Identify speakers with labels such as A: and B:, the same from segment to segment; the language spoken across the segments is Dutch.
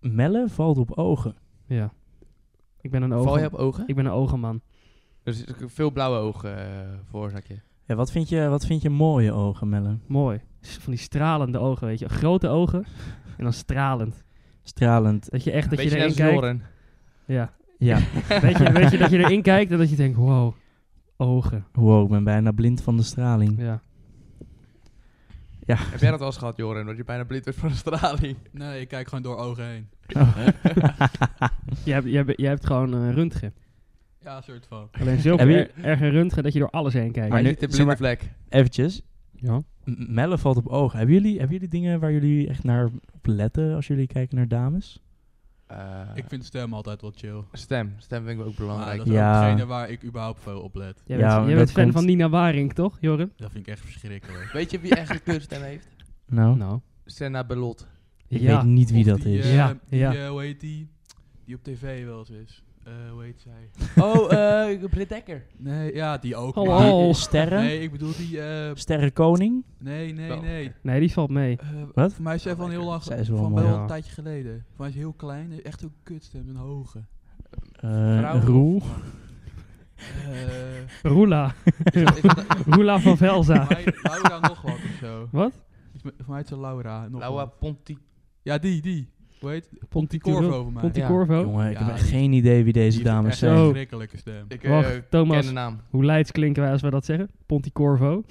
A: Melle valt op ogen.
B: Ja. Ik ben een ogen...
C: Val je op ogen?
B: Ik ben een ogenman.
C: Dus veel blauwe ogen eh, veroorzaak je.
A: Ja, wat vind je, wat vind je mooie ogen, Melle?
B: Mooi. Van die stralende ogen, weet je. Grote ogen en dan stralend.
A: Stralend.
B: Dat je echt dat je
C: Beetje
B: erin
C: net
B: kijkt.
C: als Joren.
B: Ja.
A: Ja,
B: Weet je, weet je dat je erin kijkt en dat je denkt, wow, ogen.
A: wow, ik ben bijna blind van de straling.
B: Ja.
C: Heb jij dat wel eens gehad, Joren? Dat je bijna blind werd van de straling.
D: Nee, ik kijk gewoon door ogen heen.
B: Jij, hebt- jij, hebt- jij hebt gewoon een röntgen.
D: Ja, een soort van.
B: Alleen zulke
A: Heb je-
B: er, erg een röntgen dat je door alles heen kijkt.
C: Maar
A: nu-
C: niet de
A: zeg
C: blinde
A: maar-
C: vlek.
A: Eventjes,
B: Ja.
A: M- Melle valt op ogen. Hebben jullie, hebben jullie dingen waar jullie echt naar op letten als jullie kijken naar dames?
C: Eh,
D: Ik vind stem altijd wel
C: Oh,
D: chill.
C: Stem. Stem vind ik ook
D: Maar
C: belangrijk.
D: dat is
A: Ja.
D: ook degene waar ik überhaupt veel op let.
B: Jij
A: Ja,
B: bent,
A: maar
B: jij
A: dat
B: bent fan
A: komt-
B: van Nina Waring, toch, Joren?
D: Dat vind ik echt verschrikkelijk.
C: Weet je wie echt een kleurstem heeft?
A: Nou,
B: Nou.
C: Senna Belot.
A: ik
B: ja.
A: weet niet wie
D: Of
A: dat
D: die,
A: is.
D: eh,
B: Ja,
D: die,
B: ja.
D: eh, hoe heet die? Die op tv wel eens is. Eh, hoe heet zij?
C: Oh, eh Britt Dekker.
D: Nee, ja, die ook.
B: Hallo.
D: maar-
B: Oh.
A: Sterren?
D: Nee, ik bedoel die... eh,
A: Sterrenkoning?
D: nee, nee,
C: Wel. Oh,
D: nee.
B: Nee, die valt mee.
D: Eh,
A: Wat?
D: Voor mij is zij van heel lang...
A: Zij is wel
D: van
A: mooi.
D: wel
B: Ja.
D: een tijdje geleden. Voor mij is ze heel klein. Echt een kutstem. Een hoge.
A: Eh
C: Vrouw?
A: Roel?
D: Eh,
B: Roela.
C: Is dat- is dat-
B: Roela van Velza.
D: voor mij Laura nog wat of zo.
B: Wat?
D: Iets met- Voor mij is ze Laura nog
C: Laura
D: wat.
C: Ponti.
D: Ja, die, die. Hoe heet
B: Ponticorvo.
D: Corvo voor mij.
C: Ja.
B: Ponticorvo.
A: Jongen, ik
D: Ja,
A: heb echt geen idee wie deze
D: Die Oh. vind ik
A: dames
D: echt
A: zijn.
D: Een
B: Zo.
D: verschrikkelijke stem.
C: Ik eh,
B: Wacht, Thomas.
C: ken de naam.
B: Hoe leids klinken wij als wij dat zeggen? Ponticorvo.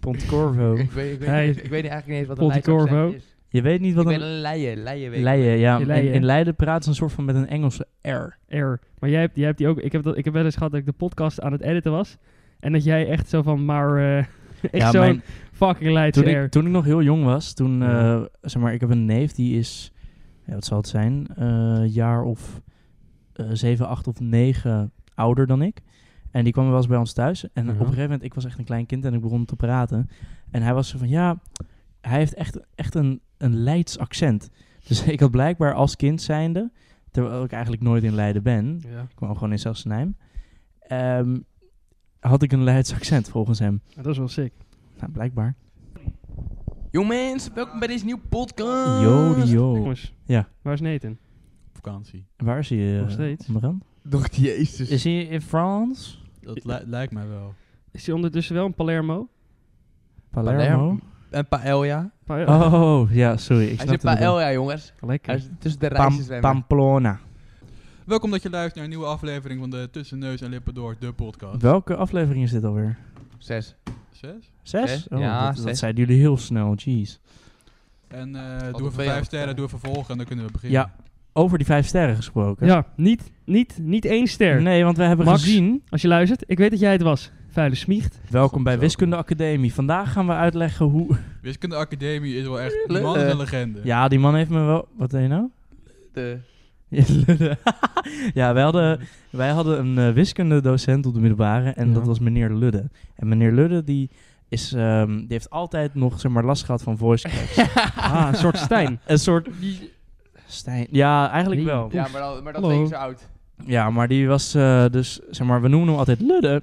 A: Pontcorvo.
C: Ik weet, ik, weet,
B: Oh. Hij-
C: ik weet eigenlijk niet eens wat een
B: Ponti Corvo.
C: leidsaccent is.
A: Je weet niet
C: Ik
A: wat
C: ben
A: een...
C: een leien. Leien weet ik.
A: Leiden, ja.
B: In
A: In,
B: Leiden.
A: in Leiden praat ze een soort van met een Engelse R.
B: R. Maar jij hebt, jij hebt die ook. Ik heb, dat, ik heb wel eens gehad dat ik de podcast aan het editen was. En dat jij echt zo van, maar. eh, echt
A: Ja,
B: zo'n
A: mijn-
B: fucking leids
A: Toen
B: R.
A: ik, toen ik nog heel jong was, toen, eh,
B: Ja.
A: zeg maar, ik heb een neef die is, ja, wat zal het zijn, eh jaar of eh, zeven, acht of negen ouder dan ik. En die kwam wel eens bij ons thuis. En
B: Ja.
A: op een gegeven moment, ik was echt een klein kind en ik begon te praten. En hij was zo van, ja, hij heeft echt, echt een, een Leids accent. Dus ik had blijkbaar als kind zijnde, terwijl ik eigenlijk nooit in Leiden ben,
B: Ja.
A: ik woon gewoon in Sassenheim, ehm, had ik een Leids accent volgens hem.
B: Dat is wel sick.
A: Nou, blijkbaar.
C: Jong mensen, welkom bij deze nieuwe podcast.
A: Jodi, joh.
B: Jongens.
A: Oh, Ja.
B: Waar is Nathan?
D: Op vakantie.
A: Waar is hij eh,
B: Nog steeds.
A: onderaan?
C: Doch, jezus.
A: Is hij in France?
D: Dat li- lijkt mij wel.
B: Is hij ondertussen wel in Palermo?
A: Palermo?
C: Een paella.
B: Pa-
A: Oh, ja, sorry. Ik
C: Hij
A: snapte
C: zit
A: het wel.
C: paella, jongens.
B: Lekker.
C: Hij is tussen de
A: Pam-
C: rijstjes zwemmen.
A: Pamplona.
D: Welkom dat je luistert naar een nieuwe aflevering van de Tussen Neus en Lippen Door, de podcast.
A: Welke aflevering is dit alweer?
C: Zes.
D: Zes.
A: Zes? Oh,
C: Zes? Ja,
A: dat, dat
C: zes.
A: zeiden jullie heel snel, jeez.
D: En eh,
A: Oh,
C: twee
D: doe even
C: afleveringen.
D: vijf sterren, doe even volgen en dan kunnen we beginnen.
A: Ja, over die vijf sterren gesproken.
B: ja, niet, niet, niet één ster.
A: Nee, want we hebben
B: Max.
A: gezien...
B: Als je luistert, ik weet dat jij het was. Vuile smiecht.
A: Welkom
D: Soms
A: bij
D: ook.
A: Wiskunde Academie. Vandaag gaan we uitleggen hoe...
D: Wiskunde Academie is wel echt
C: Leuk.
D: man is een legende.
A: Eh, Ja, die man heeft me wel... Wat deed je nou?
C: De,
A: ja, wij hadden, wij hadden een eh, wiskundedocent op de middelbare en
B: Ja.
A: dat was meneer Ludde. En meneer Ludde die, is, ehm, die heeft altijd nog zeg maar, last gehad van voice cracks.
B: Ah, een soort Stijn.
A: een soort... Stijn. Ja, eigenlijk
B: Die-
A: wel.
C: ja, maar, al, maar dat
B: Hallo.
C: denk ik zo oud.
A: Ja, maar die was eh, dus, zeg maar, we noemen hem altijd Ludde.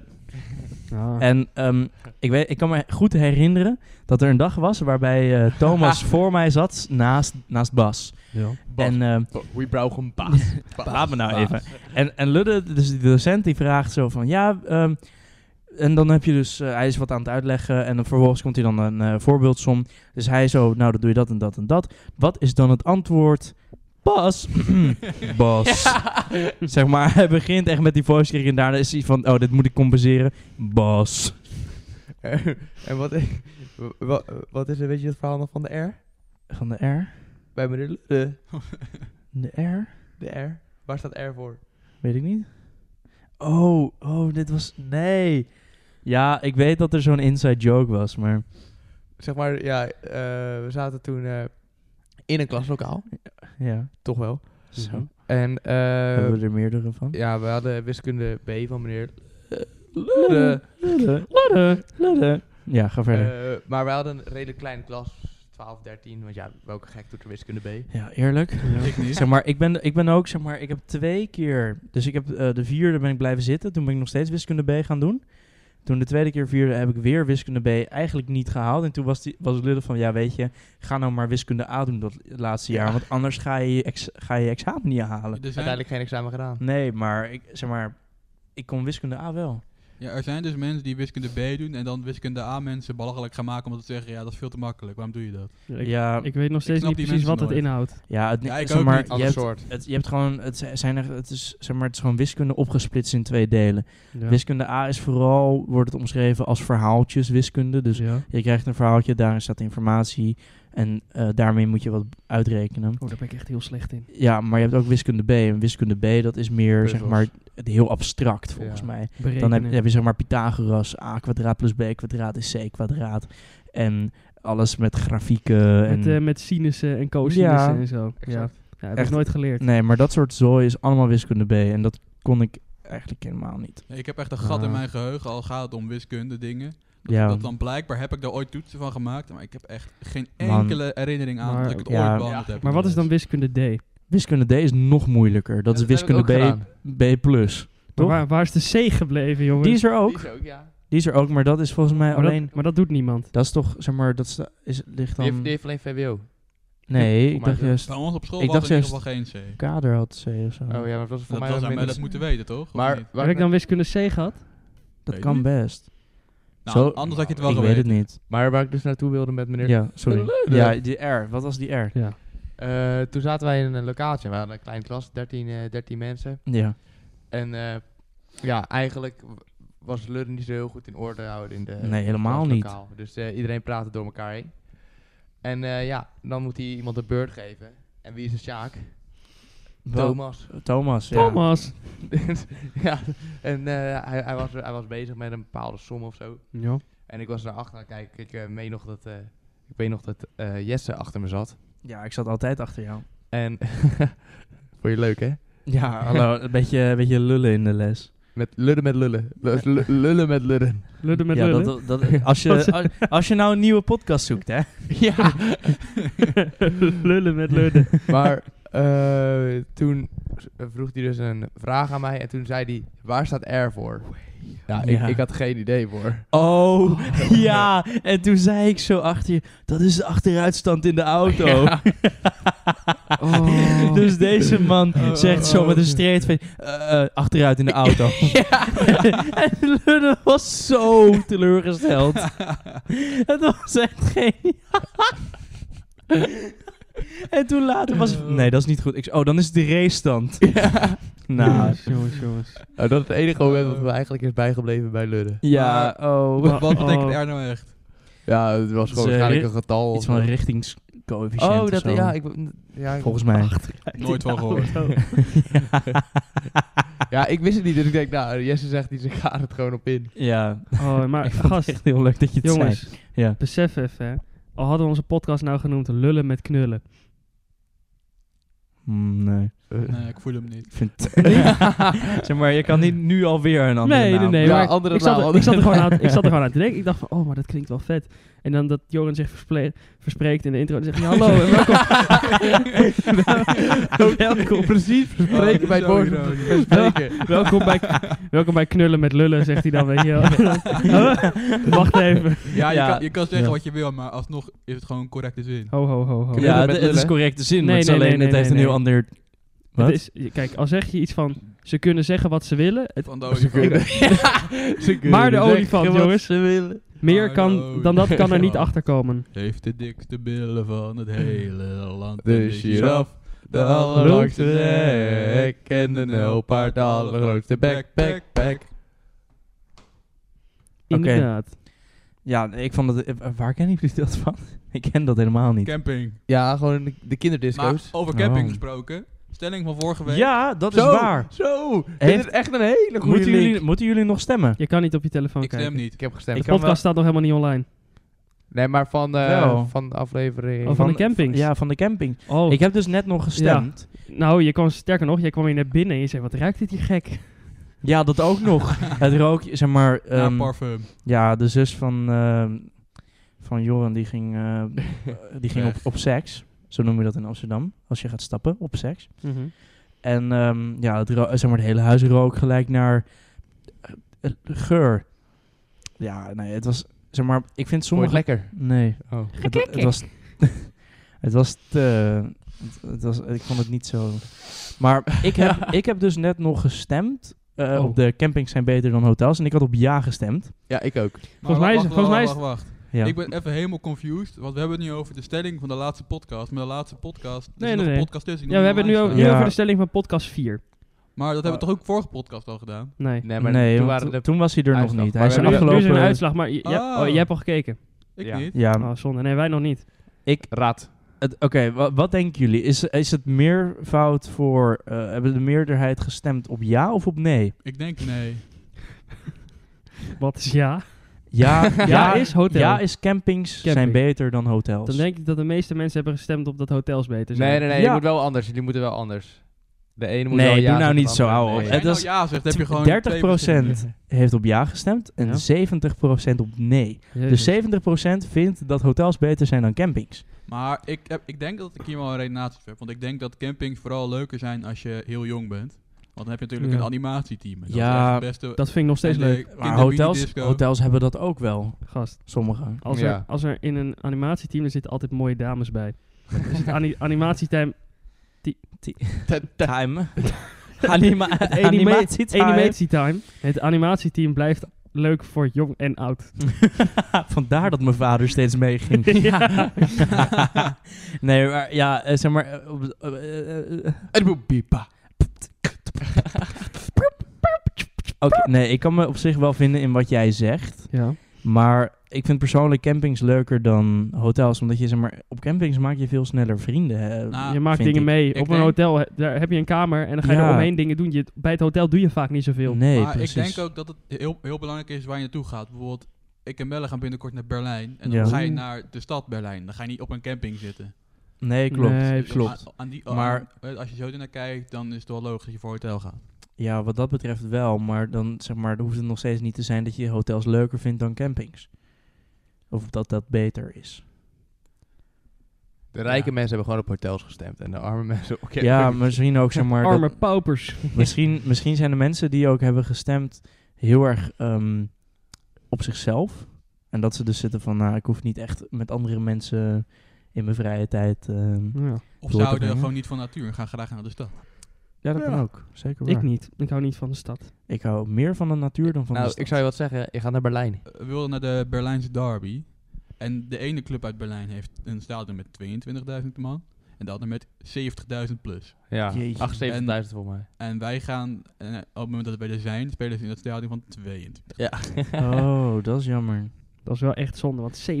B: Ah.
A: En ehm, ik, weet, ik kan me goed herinneren dat er een dag was waarbij eh, Thomas voor mij zat naast, naast Bas.
B: Ja.
C: Bas.
A: En ehm,
C: We brauchen een baas.
A: Laat me nou even. En, en Ludde, dus die docent, die vraagt zo van... Ja, ehm, en dan heb je dus... eh, hij is wat aan het uitleggen en dan vervolgens komt hij dan een eh, voorbeeldsom. Dus hij zo, nou dan doe je dat en dat en dat. Wat is dan het antwoord? Bas. Bas. Zeg maar, hij begint echt met die voice crack en daarna is hij van... Oh, dit moet ik compenseren. Bas.
C: en wat, wat, wat is er, weet je het verhaal nog van de R?
A: Van de R.
C: Bij meneer Lu- de,
A: De R.
C: de R. Waar staat R voor?
A: Weet ik niet. Oh, oh, dit was... Nee. Ja, ik weet dat er zo'n inside joke was, maar...
C: Zeg maar, ja, eh, we zaten toen eh, in een klaslokaal.
A: Ja,
C: Toch wel.
A: zo.
B: Mhm.
C: En eh,
A: Hebben we er meerdere van?
C: ja, we hadden wiskunde B van meneer
A: Ludde. Ludde. Ludde. Ja, ga verder.
C: Eh, maar we hadden een redelijk kleine klas, 12, 13. Want ja, welke gek doet er wiskunde B?
A: ja, eerlijk.
D: Ik niet.
A: Zeg maar, ik ben, ik ben ook, zeg maar, ik heb twee keer... Dus ik heb eh, de vierde ben ik blijven zitten. Toen ben ik nog steeds wiskunde B gaan doen. Toen de tweede keer vierde heb ik weer wiskunde B eigenlijk niet gehaald. En toen was, die, was Ludde van, ja weet je, ga nou maar wiskunde A doen dat laatste jaar. Want anders ga je je, ex- ga je examen niet halen.
D: Er zijn,
C: Uiteindelijk geen examen gedaan.
A: Nee, maar ik, zeg maar, ik kon wiskunde A wel.
D: ja, er zijn dus mensen die wiskunde B doen en dan wiskunde A mensen belachelijk gaan maken omdat ze zeggen, ja, dat is veel te makkelijk, waarom doe je dat?
B: Ik,
A: ja,
B: ik weet nog steeds
D: snap
B: niet
D: die
B: precies wat
D: mensen
B: het
D: nooit.
B: inhoudt.
A: ja, het,
D: Ja, ik
A: zeg
D: ook
A: maar,
D: niet.
A: je
C: Ander
A: hebt,
C: soort.
A: het, je hebt gewoon, het, z- zijn er, het, is, zeg maar, het is gewoon wiskunde opgesplitst in twee delen.
B: Ja.
A: Wiskunde A is vooral, wordt het omschreven als verhaaltjeswiskunde. Dus
B: ja.
A: je krijgt een verhaaltje, daarin staat informatie en eh, daarmee moet je wat uitrekenen.
B: Oh, daar ben ik echt heel slecht in.
A: Ja, maar je hebt ook wiskunde B. En wiskunde B, dat is meer,
C: Puzzels.
A: zeg maar, het heel abstract volgens
C: Ja.
A: mij. Dan
B: Berekenen.
A: heb, heb je, zeg maar, Pythagoras, A kwadraat plus B kwadraat is C kwadraat. En alles met grafieken.
B: met,
A: en,
B: eh, met sinussen en cosinussen
A: Ja.
B: en zo. Ja,
C: Exact.
B: ja heb
A: Echt.
B: ik nooit geleerd.
A: nee, maar dat soort zooi is allemaal wiskunde B. En dat kon ik eigenlijk helemaal niet.
D: Nee, ik heb echt een gat in
A: Ah.
D: mijn geheugen, al gaat het om wiskunde dingen. Dat,
A: Ja.
D: dat dan blijkbaar heb ik daar ooit toetsen van gemaakt, maar ik heb echt geen
A: Man.
D: enkele herinnering aan
B: Maar-
D: dat ik het
A: Ja.
D: ooit behandeld
C: Ja.
D: heb.
B: Maar wat is dan wiskunde D?
A: Wiskunde D is nog moeilijker. Dat is wiskunde B, B+. plus.
B: Maar
A: Toch?
B: waar, waar is de C gebleven, jongen?
A: Die is er ook.
C: ook, ja.
A: Die is er ook, maar dat is volgens mij
B: maar,
A: alleen...
B: dat, maar dat doet niemand.
A: Dat is toch, zeg maar, dat is, is, ligt
C: Die heeft, die
A: dan...
C: heeft alleen
A: Oh,
C: VWO.
A: Nee, ik
C: Voor mij
A: dacht
C: wel.
A: juist
D: Bij ons op school
A: Ik
D: was
A: dacht
D: er in ieder geval geen C.
A: kader had C of zo.
C: Oh ja, maar dat was voor
D: Dat,
C: mij
D: dat
C: wel
D: zou mij
C: minder-
D: dat moeten weten, toch? Of niet?
C: Maar
B: Heb
C: waar,
B: ik dan wiskunde C gehad?
A: Dat
D: weet
A: kan
D: niet.
A: best.
D: nou,
A: Zo-
D: anders had je het wel
A: Ik weet
D: geweten.
A: het niet.
C: maar waar ik dus naartoe wilde met meneer...
A: Ja, sorry.
C: Leuk.
A: Ja, die R. Wat was die R?
B: Ja.
C: Eh, toen zaten wij in een locatie. en We hadden een kleine klas, 13, eh, 13 mensen.
A: Ja.
C: En eh, ja, eigenlijk w- was Lurren niet zo heel goed in orde houden in de
A: Nee, helemaal niet.
C: klaslokaal. Dus eh, iedereen praatte door elkaar heen. En eh, ja, dan moet hij iemand een beurt geven. En wie is een Sjaak? Thomas.
A: Thomas, ja.
B: Thomas!
C: ja, en eh, hij, hij, was, hij was bezig met een bepaalde som of zo.
B: Ja.
C: En ik was naar achter aan het kijken. Ik, eh, meen nog dat, eh, ik weet nog dat eh, Jesse achter me zat.
A: Ja, ik zat altijd achter jou.
C: En vond je leuk, hè?
A: Ja, hallo. Een beetje, een beetje lullen in de les.
C: Met lullen met lullen. Lu- lu- lullen met lullen.
B: Ludden met
A: ja,
B: lullen.
A: dat, dat, als, je, als, als je nou een nieuwe podcast zoekt, hè.
C: ja.
B: lullen met lullen.
C: Maar eh, toen s- vroeg hij dus een vraag aan mij. En toen zei hij, waar staat R voor? Ja, ik,
A: Ja.
C: ik had geen idee voor.
A: Oh, ja. En toen zei ik zo achter je, dat is de achteruitstand in de auto.
B: Oh.
A: Dus deze man
D: Oh,
A: zegt zo
D: oh.
A: met een street van, eh, eh, achteruit in de auto. en Ludde was zo teleurgesteld. Het was echt geen... en toen later was het, nee, dat is niet goed. Ik zei, oh, dan is het de race stand. Nou,
B: Jongens, jongens, jongens.
C: Nou, dat is het enige moment dat me eigenlijk is bijgebleven bij Ludden.
A: ja, oh.
D: Wat, wat betekent
B: Oh.
D: R nou echt?
C: Ja, het was gewoon
A: Dus, eh,
C: waarschijnlijk een getal.
A: Iets
C: of
A: van
C: zo.
A: een richtingscoëfficiënt
C: Oh,
A: of
C: dat,
A: zo.
C: ja, ik, ja, ik-
A: Volgens mij.
D: Nooit van gehoord.
C: ja, ik wist het niet. Dus ik denk, nou, Jesse zegt iets, ik ga het gewoon op in.
A: Ja,
B: Oh, maar
A: ik vond het
B: gast,
A: echt heel leuk dat je het zei.
B: jongens,
A: Ja.
B: besef even, hè. Al hadden we onze podcast nou genoemd Lullen met knullen.
A: Mm, nee,
D: Nee, ik voel hem niet.
A: ik vind zeg maar, je kan niet nu alweer een andere
B: nee,
A: naam.
B: nee, nee,
C: Ja,
B: maar
C: andere
B: ik, zat
C: naam,
B: er, ik, zat er
C: andere
B: gewoon aan, ik zat er gewoon aan te denken. Ik dacht van, oh, maar dat klinkt wel vet. En dan dat Joran zich versple- verspreekt in de intro en zegt, ja, hallo en welkom. welkom,
C: Precies,
D: dat
C: bespreken
D: is
C: bij het
D: zo
C: woord
D: ironisch.
C: bespreken.
B: welkom, bij, welkom bij knullen met lullen, zegt hij dan, weet je wel. Wacht even.
D: Ja, je,
A: Ja.
D: Kan, je kan zeggen
A: Ja.
D: wat je wil, maar alsnog is het gewoon een correcte zin.
B: Ho, ho, ho, ho.
C: Knullen
A: Ja,
C: met
A: het, het is
C: lullen.
A: correcte zin, maar
B: Nee,
A: het is
B: nee,
A: alleen,
B: nee,
A: het
B: nee,
A: heeft een
B: nee,
A: heel ander... Wat?
B: Het is, je- kijk, al zeg je iets van, ze kunnen zeggen wat ze willen. Het,
D: Van de
C: Oh, Ze
D: olifant.
C: kunnen- ze kunnen
B: Maar de
C: zeggen
B: olifant,
C: wat
B: jongens.
C: ze willen.
B: meer kan,
D: Hallo,
B: dan dat kan er niet
D: ja.
B: achter komen.
D: Heeft de dikste billen van het hele land.
C: De giraf, de allerlangste nek en de nulpaard, de allergrootste bek, bek, bek.
B: Inderdaad.
A: Ja, ik vond dat... eh, Waar kennen jullie dat van? Ik ken dat helemaal niet.
D: Camping.
C: Ja, gewoon de, de
D: Maar
C: kinderdisco's.
D: over camping
A: Oh.
D: gesproken. Stelling van vorige week.
A: Ja, dat is
C: zo,
A: waar.
C: Zo, dit
A: Heeft-
C: is echt een hele goede
A: Moeten
C: link.
A: jullie, moeten jullie nog stemmen?
B: Je kan niet op je telefoon
D: Ik
B: kijken.
D: stem niet.
C: Ik heb gestemd.
B: De
A: Ik
B: podcast staat nog helemaal niet online.
C: Nee, maar van, eh,
A: Wel.
C: van de aflevering.
B: Oh, van de campings.
A: Ja, van de camping.
B: Oh,
A: Ik heb dus net nog gestemd. Ja,
B: nou, je kwam sterker nog, jij kwam hier net binnen en je zei, wat ruikt dit hier gek?
A: dat ook nog. het rook, zeg maar...
D: Naar
A: ehm,
D: parfum.
A: ja, de zus van, ehm, van Joran, die ging, eh, die ging op,
D: Weg.
A: op seks. Zo noem je dat in Amsterdam. Als je gaat stappen, op seks. En ehm, ja, het, ro- zeg maar, het hele huis rook gelijk naar eh, eh, geur. Ja, nee, het was... Zeg maar, ik vind
C: Vond je het
A: sommige...
C: lekker?
A: Nee.
C: Oh.
A: Het, wa- het was... het was te... Het, het was, ik vond het niet zo... Maar ik heb, ik heb dus net nog gestemd. eh,
B: Oh.
A: Op de campings zijn beter dan hotels. En ik had op ja gestemd.
C: Ja, ik ook.
B: Volgens mij is-
D: wacht,
B: volgens mij
D: wacht, wacht, wacht.
A: Ja.
D: Ik ben even helemaal confused, want we hebben het nu over de stelling van de laatste podcast. Maar de laatste podcast, er
B: Nee,
D: zit
B: nee,
D: nog
B: nee.
D: een podcast tussen. die
B: Ja, we
D: nog
B: hebben het nu
D: online
B: over,
A: Ja.
B: nu over de stelling van podcast 4.
D: staat. Maar dat hebben we toch ook vorige podcast al gedaan?
B: Nee.
C: Nee, maar
A: maar nee,
C: toen
A: want
C: waren
A: to-
C: de...
A: toen was hij er nog
C: uitslag.
A: niet.
C: Maar
A: Hij
C: we
A: is
B: Maar
A: er
B: nu, nu is er een
A: afgelopen...
B: uitslag, maar je, je, hebt-
D: Oh.
B: oh, je hebt al gekeken.
D: Ik
C: Ja.
D: niet.
A: Ja,
B: Oh, zonde. Nee, wij nog niet.
A: ik,
C: Raad.
A: Het- Oké, wa- wat denken jullie? Is, is het meer fout voor... eh, hebben de meerderheid gestemd op ja of op nee?
D: Ik denk nee.
B: Wat is ja?
A: Ja, ja,
B: is hotel.
A: Ja is campings zijn
B: Camping.
A: beter dan hotels.
B: Dan denk ik dat de meeste mensen hebben gestemd op dat hotels beter zijn.
C: Nee, nee, nee,
A: Ja.
C: die moet wel anders. Die moeten wel anders. De ene moet
A: Nee,
C: wel ja
A: doe nou
C: zeggen,
A: niet
C: de
A: zo,
C: andere
A: hou op.
D: Als
C: nee.
D: jij
A: Het
D: nou
A: is-
D: ja zegt, heb je gewoon
A: 30%
D: twee verschillende-
A: heeft op ja gestemd en
B: Ja.
A: 70% op nee.
B: Jezus.
A: Dus 70% vindt dat hotels beter zijn dan campings.
D: Maar ik, heb, ik denk dat ik hier wel een redenatie voor heb. Want ik denk dat campings vooral leuker zijn als je heel jong bent. Want dan heb je natuurlijk
B: Ja.
D: een animatieteam. En Dat
A: Ja,
D: is echt het beste.
B: Dat vind ik nog steeds
D: en de
B: leuk,
A: Maar
D: kindermini
A: hotels,
D: disco.
A: hotels hebben dat ook wel,
B: gast.
A: sommigen.
B: Als,
C: Ja.
B: er, als er in een animatieteam, er zitten altijd mooie dames bij. dus het ani- animatieteam...
A: Time. Anima
B: Het anima-
A: animatietime.
B: animatietime. Het animatieteam blijft leuk voor jong en oud.
A: Vandaar dat mijn vader steeds meeging.
B: Ja.
A: nee, maar ja, eh, zeg maar. eh, op- eh, eh, eh,
C: Het moet piepen.
A: Oké, nee, ik kan me op zich wel vinden in wat jij zegt.
B: Ja.
A: Maar ik vind persoonlijk campings leuker dan hotels. Omdat je zeg maar, op campings maak je veel sneller vrienden. Hè,
D: Nou,
B: je maakt
A: Ah, vind
B: dingen
A: ik.
B: mee.
D: Ik
B: Op een
D: denk-
B: hotel he- daar heb je een kamer en dan ga je
A: Ja.
B: er omheen dingen doen. Je, bij het hotel doe je vaak niet zoveel.
A: Nee,
D: maar
A: precies.
D: ik denk ook dat het heel, heel belangrijk is waar je naartoe gaat. Bijvoorbeeld, ik en Belle gaan binnenkort naar Berlijn. En dan
A: Ja.
D: ga je naar de stad Berlijn. Dan ga je niet op een camping zitten.
A: Nee, klopt.
B: Nee,
D: Dus
A: klopt.
D: aan- aan die,
A: Maar-
D: maar als je zo ernaar kijkt, dan is het wel logisch dat je voor hotel gaat.
A: Ja, wat dat betreft wel. Maar dan zeg maar, dan hoeft het nog steeds niet te zijn dat je hotels leuker vindt dan campings. Of dat dat beter is.
C: De rijke
D: Ja.
C: mensen hebben gewoon op hotels gestemd. En de arme mensen op
A: ja,
C: campings.
A: misschien ook zeg maar. dat-
B: Arme paupers.
A: Misschien, misschien zijn de mensen die ook hebben gestemd heel erg ehm, op zichzelf. En dat ze dus zitten van, nou, ik hoef niet echt met andere mensen in mijn vrije tijd. ehm.
B: Ja.
A: Door te
D: Of zouden
A: brengen.
D: gewoon niet van natuur en gaan graag naar de stad. Eh,
A: Ja, dat kan
C: Ja.
A: ook. Zeker waar.
B: Ik niet. Ik hou niet van de stad.
A: Ik hou meer van de natuur dan van de
C: Nou,
A: stad.
C: ik zou je wat zeggen. Je gaat naar Berlijn.
D: Eh, We wilden naar de Berlijnse derby. En de ene club uit Berlijn heeft een stadion met 22.000 man. En de andere met 70.000 plus.
C: Ja,
A: Jeetje.
C: 78.000 voor mij.
D: En wij gaan, eh, op het moment dat wij er zijn, spelen ze in dat stadion van 22.
C: Ja.
A: Oh, dat is jammer.
B: Dat is wel echt zonde, want 70.000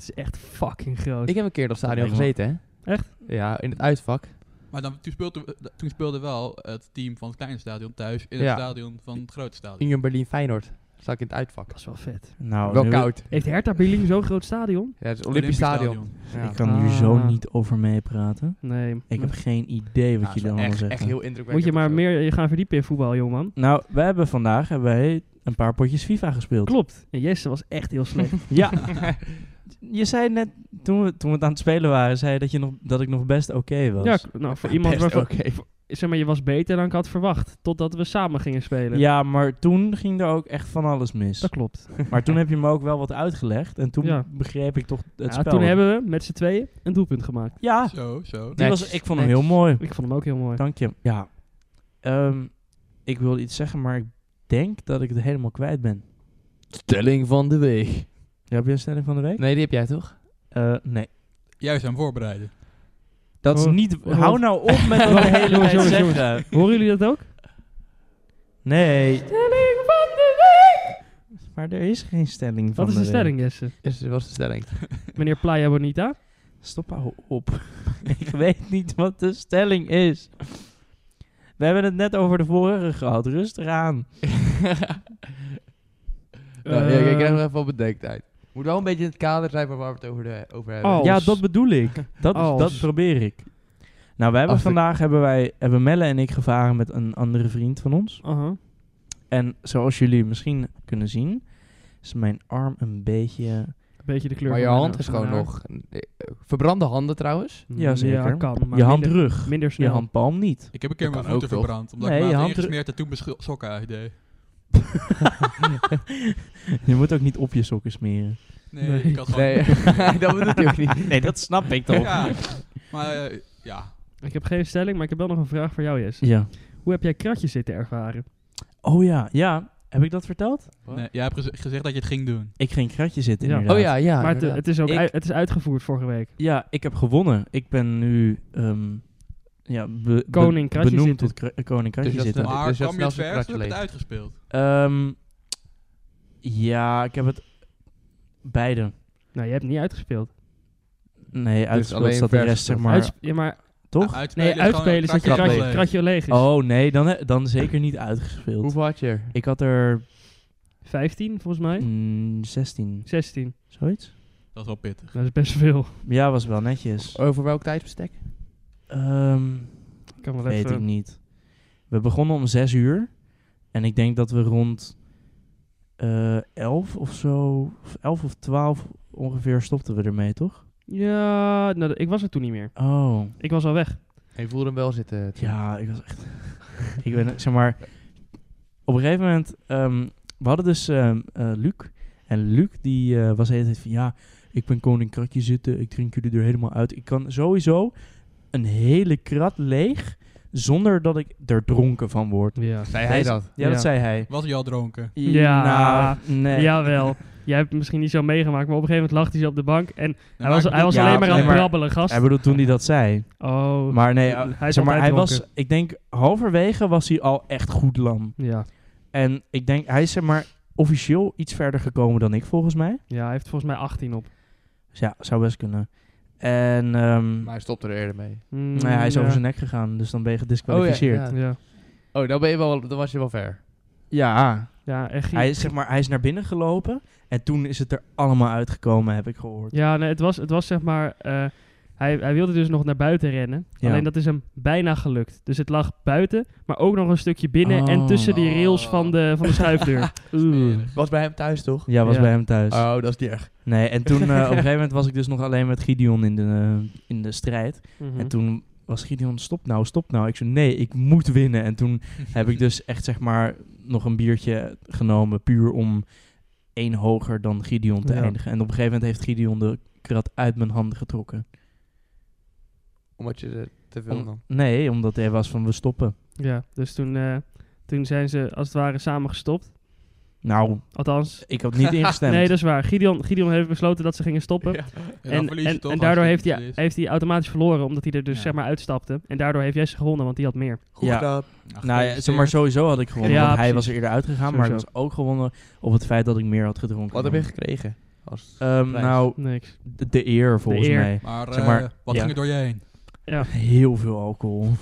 B: is echt fucking groot.
C: Ik heb een keer in dat stadion
A: Dat lijkt
C: gezeten, hè?
B: Echt?
C: Ja, in het uitvak.
D: Maar dan, toen, speelde, toen speelde wel het team van het kleine stadion thuis in
C: Ja.
D: het stadion van het grote stadion.
C: Union Berlin Feyenoord. Zat ik in het uitvak.
B: dat is wel vet.
A: Nou,
C: Wel
A: nu-
C: koud.
B: Heeft Hertha Berlin zo'n groot stadion?
C: Ja, het is Olympisch Stadion. Ja.
A: Ik kan hier zo
B: Ah.
A: niet over meepraten.
B: Nee.
A: Ik heb geen idee wat
C: Ja, het is
A: je dan allemaal
C: wel Nou, echt,
A: zegt.
C: echt heel indrukwekkend.
B: Moet je
C: of
B: maar
C: zo.
B: meer je gaan verdiepen in voetbal, jongeman.
A: Nou, we hebben vandaag hebben wij een paar potjes FIFA gespeeld.
B: Klopt. En Jesse was echt heel slecht.
A: Ja. je zei net, toen we, toen we het aan het spelen waren, zei je dat, je nog, dat ik nog best oké was.
B: ja, k- nou, voor iemand
C: Best
B: waarvan...
C: oké.
B: Zeg maar, je was beter dan ik had verwacht. Totdat we samen gingen spelen.
A: Ja, maar toen ging er ook echt van alles mis.
B: Dat klopt.
A: Maar toen heb je me ook wel wat uitgelegd. En toen
B: Ja.
A: begreep ik toch het
B: Ja,
A: spel.
B: toen hebben we met z'n tweeën een doelpunt gemaakt.
A: Ja, die
D: Zo, zo.
A: was,
C: Netjes,
A: ik vond hem heel
C: netjes.
A: mooi.
B: Ik vond hem ook heel mooi.
A: Dank je. Ja. Ehm, ik wilde iets zeggen, maar ik denk dat ik het helemaal kwijt ben.
C: Stelling van de week.
A: Ja, heb je een stelling van de week?
C: Nee, die heb jij toch?
A: Eh, nee.
D: Juist aan voorbereiden.
A: Dat is
B: Oh,
A: niet...
B: oh.
A: Hou nou op met wat de
B: Jongens,
A: hele tijd
B: jongens, jongens.
A: zeggen.
B: Horen jullie dat ook?
A: Nee.
B: Stelling van de week!
A: Maar er is geen stelling van
B: Wat is de
A: week.
B: stelling, Jesse?
C: Is was de stelling.
B: Meneer Playa Bonita?
A: Stop hou op. ik weet niet wat de stelling is. We hebben het net over de vorige gehad. Rustig aan.
C: nou, ja, ik krijg
B: Ehm,
C: nog even wat bedenktijd. Moet wel een beetje in het kader zijn waar we het over, de, over hebben.
B: Oh.
A: Ja, dat bedoel ik. Dat,
B: Als.
A: dat probeer ik. Nou, we hebben
C: Als ik-
A: vandaag hebben wij hebben Melle en ik gevaren met een andere vriend van ons.
B: Eh, aha.
A: En zoals jullie misschien kunnen zien, is mijn arm een beetje.
B: Een beetje de kleur
C: maar je
B: van mijn-
C: hand is
B: van
C: gewoon
B: mijn
C: nog... eh, Verbrande handen trouwens.
B: haar.
A: Ja, zeker.
B: kan, maar
A: je
B: minder,
A: handrug,
B: minder
A: je
B: snel.
A: handpalm niet.
D: Ik heb een keer
C: Dat
D: mijn
C: kan ook
D: voeten
C: toch?
D: verbrand. Omdat
A: Nee,
D: ik
A: je
D: me had
A: hand-
D: ingesmeerd en toen mijn scho- sokken uitdeed.
A: je moet ook niet op je sokken smeren.
D: Nee,
B: Nee.
D: ik had gewoon...
C: Nee, dat bedoelt hij ook niet.
A: nee, dat snap ik toch.
D: Ja, maar eh, ja.
B: Ik heb geen stelling, maar ik heb wel nog een vraag voor jou, Jess.
A: Ja.
B: Hoe heb jij kratjes zitten ervaren?
A: Oh ja, ja. Heb ik dat verteld?
D: Nee, jij hebt geze- gezegd dat je het ging doen.
A: Ik ging kratje zitten
B: Ja.
A: inderdaad.
C: Oh ja, ja.
B: maar het,
C: inderdaad.
B: het is ook
A: Ik-
B: uit- het is uitgevoerd vorige week.
A: Ja, ik heb gewonnen. Ik ben nu ehm, ja, be-
B: Koning
A: be-
B: kratje
A: benoemd
B: zitten.
A: tot kra- eh, koning kratje
C: Dus dat is
A: zitten.
C: de-
D: maar
C: dus dat
D: kwam je het
C: snelste
D: verst of heb je het
C: kratje
D: uitgespeeld?
A: Ehm, ja, ik heb het beide.
B: Nou, je hebt het niet uitgespeeld.
A: Nee, uitgespeeld
C: Dus alleen
A: staat de
C: vers
A: rest zeg
C: gespeeld.
A: maar.
B: Uitsp- ja, maar
C: Ah,
A: toch?
D: Nou, Uitspelen
B: nee, uitspelen is dat je
D: gewoon
C: kratje
B: kratje,
D: kratje leeg.
B: kratje leeg is.
A: Oh nee, dan, he- dan zeker niet uitgespeeld.
C: Hoeveel had je er?
A: Ik had er
B: 15 volgens mij.
A: mm, 16,
B: 16.
A: zoiets.
D: Dat is wel pittig.
B: Dat is best veel.
A: Ja, was wel netjes.
C: Over welk tijdsbestek?
A: Ehm,
B: Ik kan wel
A: weet
B: even.
A: ik niet. We begonnen om 6 uur. En ik denk dat we rond eh 11 of zo, of 11 of 12 ongeveer stopten we ermee, toch?
B: Ja, nou, ik was er toen niet meer.
A: Oh.
B: Ik was al weg.
C: En je voelde hem wel zitten. eh, Tim.
A: Ja, ik was echt. ik ben, zeg maar. Op een gegeven moment. ehm, we hadden dus ehm, eh, Luc. En Luc die eh, was de hele tijd van ja. Ik ben koning kratje zitten. Ik drink jullie er helemaal uit. Ik kan sowieso een hele krat leeg. Zonder dat ik er dronken van word.
B: Ja.
C: Zei hij
A: Deze-
C: dat?
A: Ja, dat
B: Ja.
A: zei hij.
D: Was je al dronken?
B: Ja.
A: Nou, nee.
B: Jawel. Jij hebt het misschien niet zo meegemaakt, maar op een gegeven moment lag hij zo op de bank. En hij
D: maar
B: was,
D: ik
B: hij was
A: ja,
B: alleen maar aan
A: nee,
B: het
A: maar-
B: brabbelen, gast.
A: Hij bedoelt toen hij dat zei.
B: oh.
A: Maar nee,
B: Hij
A: hij,
B: is
A: zeg maar,
B: altijd
A: hij was,
B: dronken.
A: ik denk, halverwege was hij al echt goed lam.
B: ja.
A: En ik denk, hij is zeg maar officieel iets verder gekomen dan ik volgens mij.
B: ja, hij heeft volgens mij 18 op.
A: Dus ja, zou best kunnen. En ehm,
C: Maar hij stopte er eerder mee.
B: Mm,
A: nou ja, hij is
B: ja. Oh
A: over zijn nek gegaan, dus dan ben je gedisqualificeerd.
C: Oh ja.
B: Ja.
C: Oh, dan, ben je wel, dan was je wel ver.
A: ja.
B: ja, echt.
A: hij, is, zeg maar, hij is naar binnen gelopen en toen is het er allemaal uitgekomen, heb ik gehoord.
B: Ja, nee, het was, het was zeg maar. eh, hij, hij wilde dus nog naar buiten rennen.
A: Ja.
B: Alleen dat is hem bijna gelukt. Dus het lag buiten, maar ook nog een stukje binnen en
A: Oh.
B: tussen die rails van de, van de schuifdeur. Oeh.
C: Was bij hem thuis, toch?
A: Ja, was
B: Ja.
A: bij hem thuis.
C: Oh, dat is niet erg.
A: Nee, en toen eh, op een gegeven moment was ik dus nog alleen met Gideon in de, eh, in de strijd.
B: Mhm.
A: En toen was Gideon, stop nou, stop nou. Ik zei, nee, ik moet winnen. En toen heb ik dus echt, zeg maar, nog een biertje genomen. Puur om één hoger dan Gideon te
B: Ja.
A: eindigen. En op een gegeven moment heeft Gideon de krat uit mijn handen getrokken.
C: Omdat je er te veel
A: Om-
C: nam.
A: nee, omdat hij was van, we stoppen.
B: Ja, dus toen, eh, toen zijn ze als het ware samen gestopt.
A: Nou,
B: Althans.
A: ik had niet ingestemd.
B: Nee, dat is waar. Gideon, Gideon heeft besloten dat ze gingen stoppen.
C: Ja.
D: En,
B: En,
D: dan verlies je
B: en,
D: toch
B: en
D: als
B: daardoor
D: je
B: heeft hij,
D: verliest.
B: heeft hij automatisch verloren, omdat hij er dus
D: Ja.
B: zeg maar uitstapte. En daardoor heeft Jesse gewonnen, want die had meer.
C: Goed
A: Ja.
C: gedaan.
D: Nou,
A: Nou ja, zeg maar sowieso had ik gewonnen,
B: Ja,
A: want hij was
B: precies.
A: er eerder uitgegaan. Maar ik
B: Sowieso.
A: was ook gewonnen op het feit dat ik meer had gedronken.
C: Wat heb je gekregen? Als
A: Ehm,
C: prijs?
A: nou,
B: Niks.
A: de, de eer volgens
B: eer.
A: mij.
D: Maar,
A: Zeg maar,
D: eh, wat
A: ja.
D: ging er door je heen?
B: Ja.
A: Heel veel alcohol.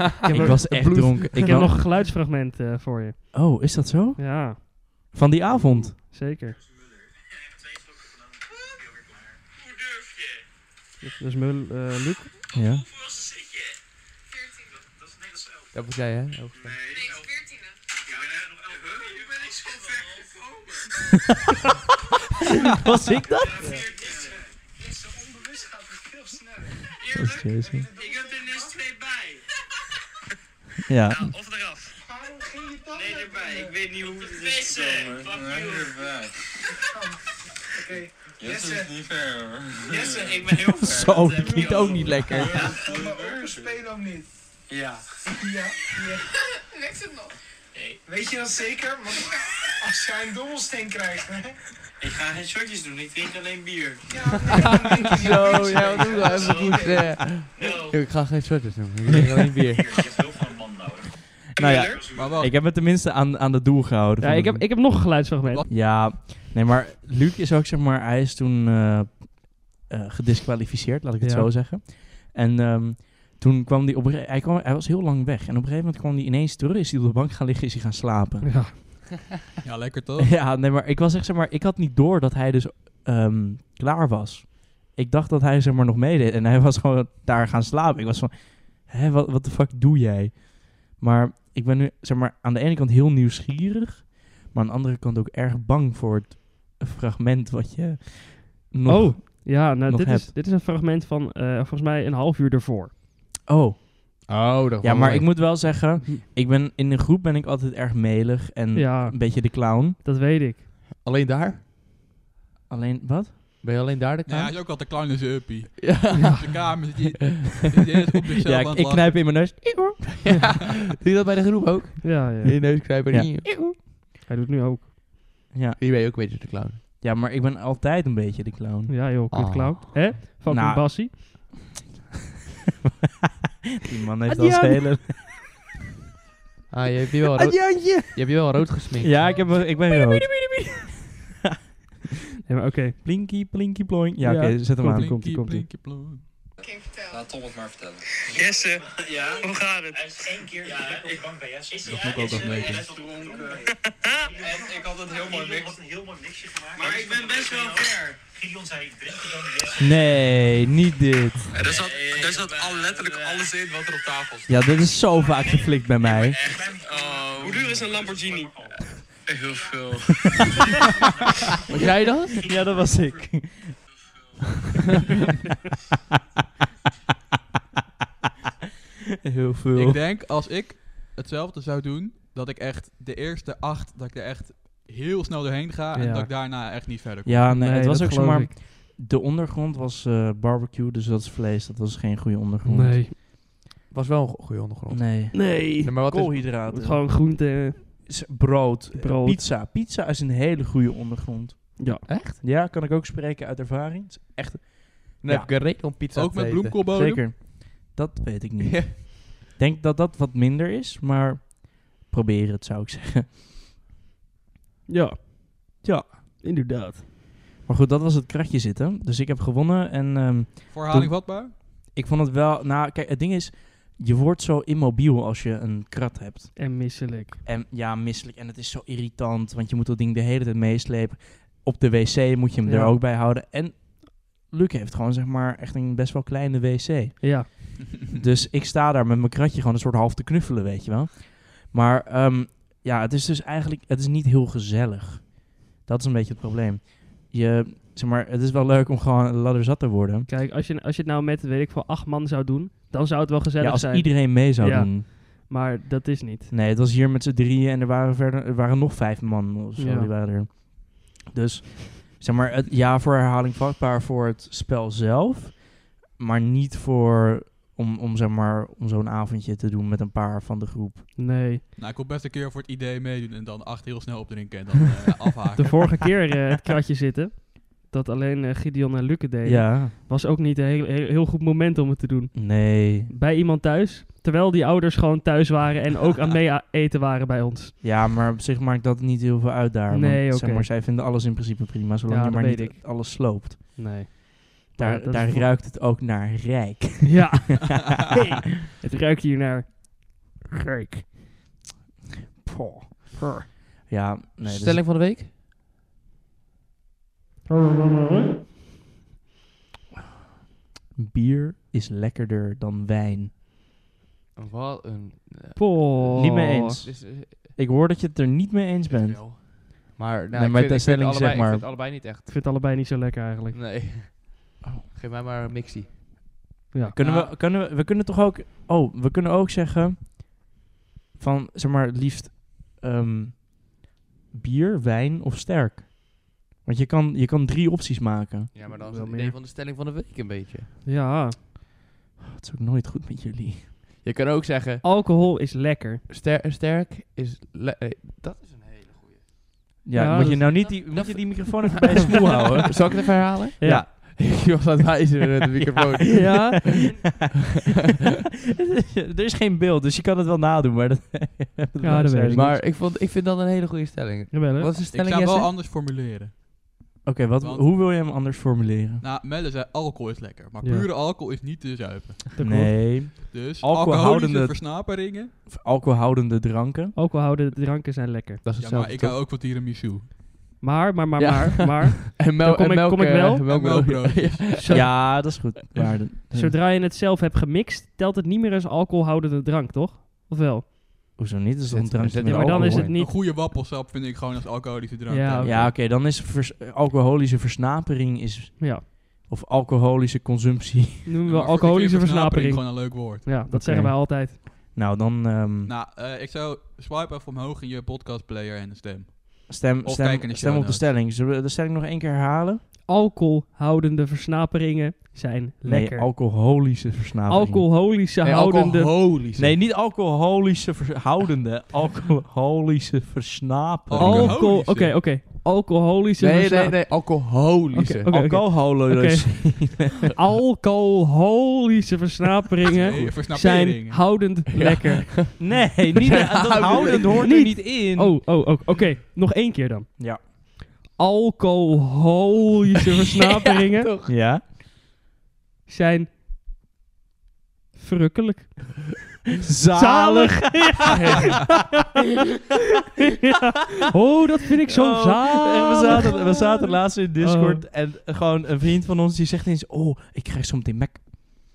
B: heb
A: ik
B: ook-
A: was echt
B: bloed.
A: dronken.
B: Ik
A: Ik
B: heb
A: wa-
B: nog een geluidsfragment eh, voor je.
A: Oh, is dat zo?
B: Ja,
A: Van die avond?
B: zeker.
E: Hoe durf je?
B: Dus Mul, eh Luc.
A: Ja.
E: Hoeveelste zit je? 14. Dat is net als 11.
C: Dat was jij, hè? Ook gedaan.
E: Nee, nee 14. Ja, we hebben nog 11. Hoe ben ik zo ver gekomen?
A: Was ik dat?
E: 14. Is onbewust gaat het veel sneller.
A: Dat is
E: Eerlijk?
A: Jason.
E: Ik heb er net twee bij.
A: Ja.
E: of eraf. Nee, erbij. Ik weet niet hoe het is. Oké. Jesse is niet ver hoor. Jesse, ik ben heel ver.
A: Zo,
E: heb
A: dat
E: ik
A: klinkt
E: al
A: ook niet lekker.
F: Maar open spelen ook niet.
E: Ja.
F: Ja, ja. Lukt het nog?
E: Nee.
F: Weet je dat zeker? Want als jij een dobbelsteen krijgt, hè?
E: Ik ga geen shotjes doen. Ik drink alleen bier.
F: Ja, nee, dan denk je
C: Zo, ja, wat doe dat? Even goed. eh.
E: No.
C: Ik ga geen shortjes doen. Ik drink alleen bier.
E: Oh, Je hebt heel veel een man nodig.
A: Nou ja,
D: Maar wacht,
A: ik heb het tenminste aan, aan het doel gehouden.
B: Ja,
A: Van-
B: ik heb, ik heb nog een geluidsfragment.
D: Wat?
A: Ja, nee, maar Luc is ook, zeg maar, hij is toen eh, eh, gedisqualificeerd, laat ik het
B: Ja.
A: zo zeggen. En ehm, toen kwam hij op een gege- hij, kwam, hij was heel lang weg. En op een gegeven moment kwam hij ineens terug, is hij op de bank gaan liggen, is hij gaan slapen.
B: Ja.
D: ja lekker toch?
A: Ja, nee, maar ik was echt, zeg maar, ik had niet door dat hij dus ehm, klaar was. Ik dacht dat hij, zeg maar, nog meedeed. En hij was gewoon daar gaan slapen. Ik was van, hè, wat, wat de fuck doe jij? Maar ik ben nu, zeg maar, aan de ene kant heel nieuwsgierig. Maar aan de andere kant ook erg bang voor het fragment wat je nog...
B: Oh. Ja, nou,
A: nog
B: dit, is,
A: hebt.
B: dit is een fragment van eh, volgens mij een half uur ervoor.
A: Oh,
C: Oh, dat
A: Ja, maar ik moet wel zeggen, ik ben, in een groep ben ik altijd erg melig en
B: Ja.
A: een beetje de clown.
B: Dat weet ik.
C: Alleen daar?
A: Alleen, wat?
C: Ben je alleen daar de
D: Ja,
C: clown?
D: hij is ook altijd de clown in zijn uppie.
C: Ja,
D: Op de kamer zit hij zit hij eerst op zichzelf
A: Ja,
D: aan
A: ik,
D: het
A: ik
D: lachen.
A: knijp in mijn neus.
C: Ja. Doe je dat bij de groep ook?
B: Ja, ja.
C: Je neusknijper.
A: Ja.
C: Ja.
B: Hij doet nu ook.
A: Ja.
C: Hier ben je ook een beetje de clown.
A: ja, maar ik ben altijd een beetje de clown.
B: Ja joh, kut
C: Ah.
B: clown. Hè? Fucking
A: Nou.
B: Bassie.
A: Die man heeft al
B: Adriaan.
A: schelen.
C: Ah, je hebt je wel rood,
A: Adjantje!
C: je hebt je wel rood gesminkt.
A: Ja, ik, heb, ik ben rood.
B: Nee, maar oké.
A: Plinky, plinky, ploink. Ja,
B: Ja.
A: oké, zet hem
B: Goed.
A: aan.
B: Komt-ie,
D: Plinkie,
B: komt-ie.
D: plinkie, plon.
E: Laat Tom het maar vertellen.
F: Jesse,
E: Ja?
F: hoe gaat het?
E: Hij is één keer ja, op de bank bij Jesse.
D: Dat moet ik ook nog weten.
E: En ik had een heel mooi mix. een heel mooi mixje gemaakt. Maar ik ben best wel ver. Gideon zei, drink je dan Jesse?
A: Nee, niet dit.
G: Er zat, er zat al letterlijk alles in wat er op tafel
A: Ja, dit is zo vaak geflikt bij mij.
G: staat. Oh,
F: Hoe duur is een Lamborghini?
G: heel veel.
C: Was jij dat?
A: Ja, dat was ik. Heel veel.
D: Ik denk als ik hetzelfde zou doen, dat ik echt de eerste acht, dat ik er echt heel snel doorheen ga en
B: Ja.
D: dat ik daarna echt niet verder kom.
A: Ja, nee, het was
B: dat
A: ook
B: geloof
A: zomaar...
B: ik.
A: De ondergrond was eh, barbecue, dus dat is vlees. Dat was geen goede ondergrond.
B: Nee.
C: Was wel een go- goede ondergrond.
A: Nee.
B: Nee.
C: Nee, maar wat is...
A: Koolhydraten.
B: Gewoon groente.
A: S- brood. eh,
B: Brood.
A: Pizza. Pizza is een hele goede ondergrond.
B: Ja.
C: Echt?
A: Ja, kan ik ook spreken uit ervaring. Het is echt...
C: Dan heb ik een reden om pizza
D: Ook
C: te
D: met
C: eten.
D: bloemkoolbodem?
A: Zeker. Dat weet ik niet.
D: Ja.
A: Ik denk dat dat wat minder is, maar probeer het zou ik zeggen.
B: Ja.
A: Ja.
B: Inderdaad.
A: Maar goed, dat was het kratje zitten. Dus ik heb gewonnen en ehm,
D: Voorhaling vatbaar?
A: ik vond het wel... Nou, kijk, het ding is, je wordt zo immobiel als je een krat hebt.
B: En misselijk.
A: En ja, misselijk. En het is zo irritant, want je moet dat ding de hele tijd meeslepen. Op de wc moet je hem er
B: Ja.
A: ook bij houden. En Luc heeft gewoon, zeg maar, echt een best wel kleine wc.
B: Ja.
A: Dus ik sta daar met mijn kratje gewoon een soort half te knuffelen, weet je wel. Maar ehm, ja, het is dus eigenlijk het is niet heel gezellig. Dat is een beetje het probleem. Je, zeg maar, het is wel leuk om gewoon ladderzat te worden.
B: Kijk, als je, als je het nou met, weet ik veel, acht man zou doen, dan zou het wel gezellig
A: Ja, als
B: zijn.
A: iedereen mee zou
B: Ja.
A: doen.
B: Maar dat is niet.
A: Nee, het was hier met z'n drieën en er waren, verder, er waren nog vijf man of zo.
B: Ja.
A: Die waren er. Dus zeg maar, het, ja, voor herhaling vatbaar voor het spel zelf. Maar niet voor om, om, zeg maar, om zo'n avondje te doen met een paar van de groep.
B: Nee.
D: Nou, ik wil best een keer voor het idee meedoen en dan acht heel snel opdrinken en dan eh,
A: Ah,
D: afhaken.
B: De vorige keer eh, het kratje zitten, dat alleen eh, Gideon en Luke deden,
A: Ja,
B: was ook niet een heel, heel, heel goed moment om het te doen.
A: nee.
B: Bij iemand thuis, terwijl die ouders gewoon thuis waren en ook aan mee a- eten waren bij ons.
A: Ja, maar op zich maakt dat niet heel veel uit daar. want,
B: Nee,
A: zeg
B: oké.
A: maar, zij vinden alles in principe prima, zolang
B: Ja,
A: je
B: dat
A: maar niet
B: weet
A: alles sloopt.
B: Nee.
A: Daar,
B: dat is
A: daar
B: voor-
A: ruikt het ook naar rijk.
B: Ja. Hey, het ruikt hier naar rijk.
A: Poh. Ja, nee. dus-
C: Stelling van de week?
A: bier is lekkerder dan wijn.
C: Wat een...
B: Poh.
A: Niet mee eens.
C: Dus, eh,
A: Ik hoor dat je het er niet mee eens
C: Best
A: bent.
C: wel. Maar, nou,
A: Nee, maar
C: ik vind-
A: de
C: ik vind
A: stelling
C: allebei,
A: zeg
C: ik
A: maar-
C: vind het allebei niet echt.
B: Ik vind het allebei niet zo lekker eigenlijk.
C: Nee. Geef mij maar een mixie.
A: Kunnen
D: Ja.
B: Ah.
A: we, kunnen we, we kunnen toch ook... Oh, we kunnen ook zeggen... Van, zeg maar, het liefst... ehm, bier, wijn of sterk. Want je kan, je kan drie opties maken.
C: Ja, maar dan is
B: Wel
C: het
B: meer.
C: idee van de stelling van de week een beetje.
B: Ja.
A: Dat is ook nooit goed met jullie.
C: Je kan ook zeggen,
B: Oh. Alcohol is lekker.
C: ster sterk is... le- eh, dat is een hele goede.
A: Ja,
B: Ja,
A: moet je
B: dat-
A: nou niet die,
C: dat-
A: moet
C: dat-
A: je die microfoon even bij je smoel houden?
C: Zal ik het even herhalen?
B: Ja.
C: Je was aan het wijzen met de microfoon.
B: Ja.
A: er is geen beeld, dus je kan het wel nadoen. Maar dat,
B: Ja, dat weet ik.
C: Maar ik, vond, ik vind dat een hele goede stelling.
B: Jawel, hè?
C: Wat is de
D: Ik zou
C: stelling,
D: hem wel
C: Jesse?
D: anders formuleren.
A: Oké, wat-
D: Want-
A: hoe wil je hem anders formuleren?
D: Nou, Melle zei alcohol is lekker, maar
B: Ja.
D: pure alcohol is niet te zuipen.
B: Dat klopt.
A: nee,
D: Dus
A: Alcoholhoudende-
D: alcoholische versnaperingen.
A: Of alcoholhoudende dranken.
B: Alcoholhoudende dranken zijn lekker.
C: Dat is
D: Ja, maar
C: hetzelfde,
D: ik
C: toch?
D: hou ook van tiramisu.
B: Maar, maar, maar,
C: Ja.
B: maar, maar.
C: En mel-
B: Dan kom
C: en
B: ik-
C: melk,
B: kom ik
C: eh,
B: wel.
C: melk-
D: En
C: melk-
D: melkbroodjes.
B: Zo,
A: Ja, dat is goed. Maar de-
B: Zodra je het zelf hebt gemixt, telt het niet meer als alcoholhoudende drank, toch? Of wel?
A: Hoezo niet? Dat is toch
C: Zet-
A: een drankje
C: zet-
A: met
C: ja,
B: maar dan
A: alcohol
B: is het
A: in?
D: Een
B: niet...
D: goede wappelsap vind ik gewoon als alcoholische drank.
B: Ja,
D: tellen.
B: oké.
A: Ja, oké, dan is vers- alcoholische versnapering is
B: Ja.
A: Of alcoholische consumptie.
B: Noemen we alcoholische versnapering.
D: Gewoon een leuk woord.
B: Ja, dat zeggen wij altijd.
A: Nou, dan ehm,
D: Nou, eh, ik zou swipe even omhoog in je podcastplayer en stem.
A: stem,
D: of
A: stem,
D: kijk in de
A: stem
D: show
A: op de
D: notes.
A: stelling. Zullen we de stelling nog één keer herhalen?
B: Alcoholhoudende versnaperingen zijn lekker.
A: Nee, alcoholische versnapering.
B: alcoholische houdende...
C: alcoholisch.
A: Nee, niet alcoholische vers- houdende. alcoholische versnapering.
D: Al-
B: alcohol... Oké,
D: alcoholische.
B: oké. Alcoholische
C: Nee, nee,
B: versnapering.
C: nee, alcoholische.
B: Oké, oké.
A: Alcoholische.
B: Alcoholische versnaperingen
D: Nee, versnaperingen.
B: zijn houdend lekker.
A: Nee, niet, dat houdend hoort er niet in.
B: Oh, oh, oh. Oké, nog één keer dan.
A: Ja.
B: Alcoholische versnaperingen
A: Ja?
B: zijn verrukkelijk.
A: Zalig.
B: Ja. Ja. Oh, dat vind ik zo
A: Oh, en
B: zalig. Oh.
A: we, zaten, we zaten laatst in Discord en gewoon een vriend van ons die zegt eens... Oh, ik krijg zometeen Mac.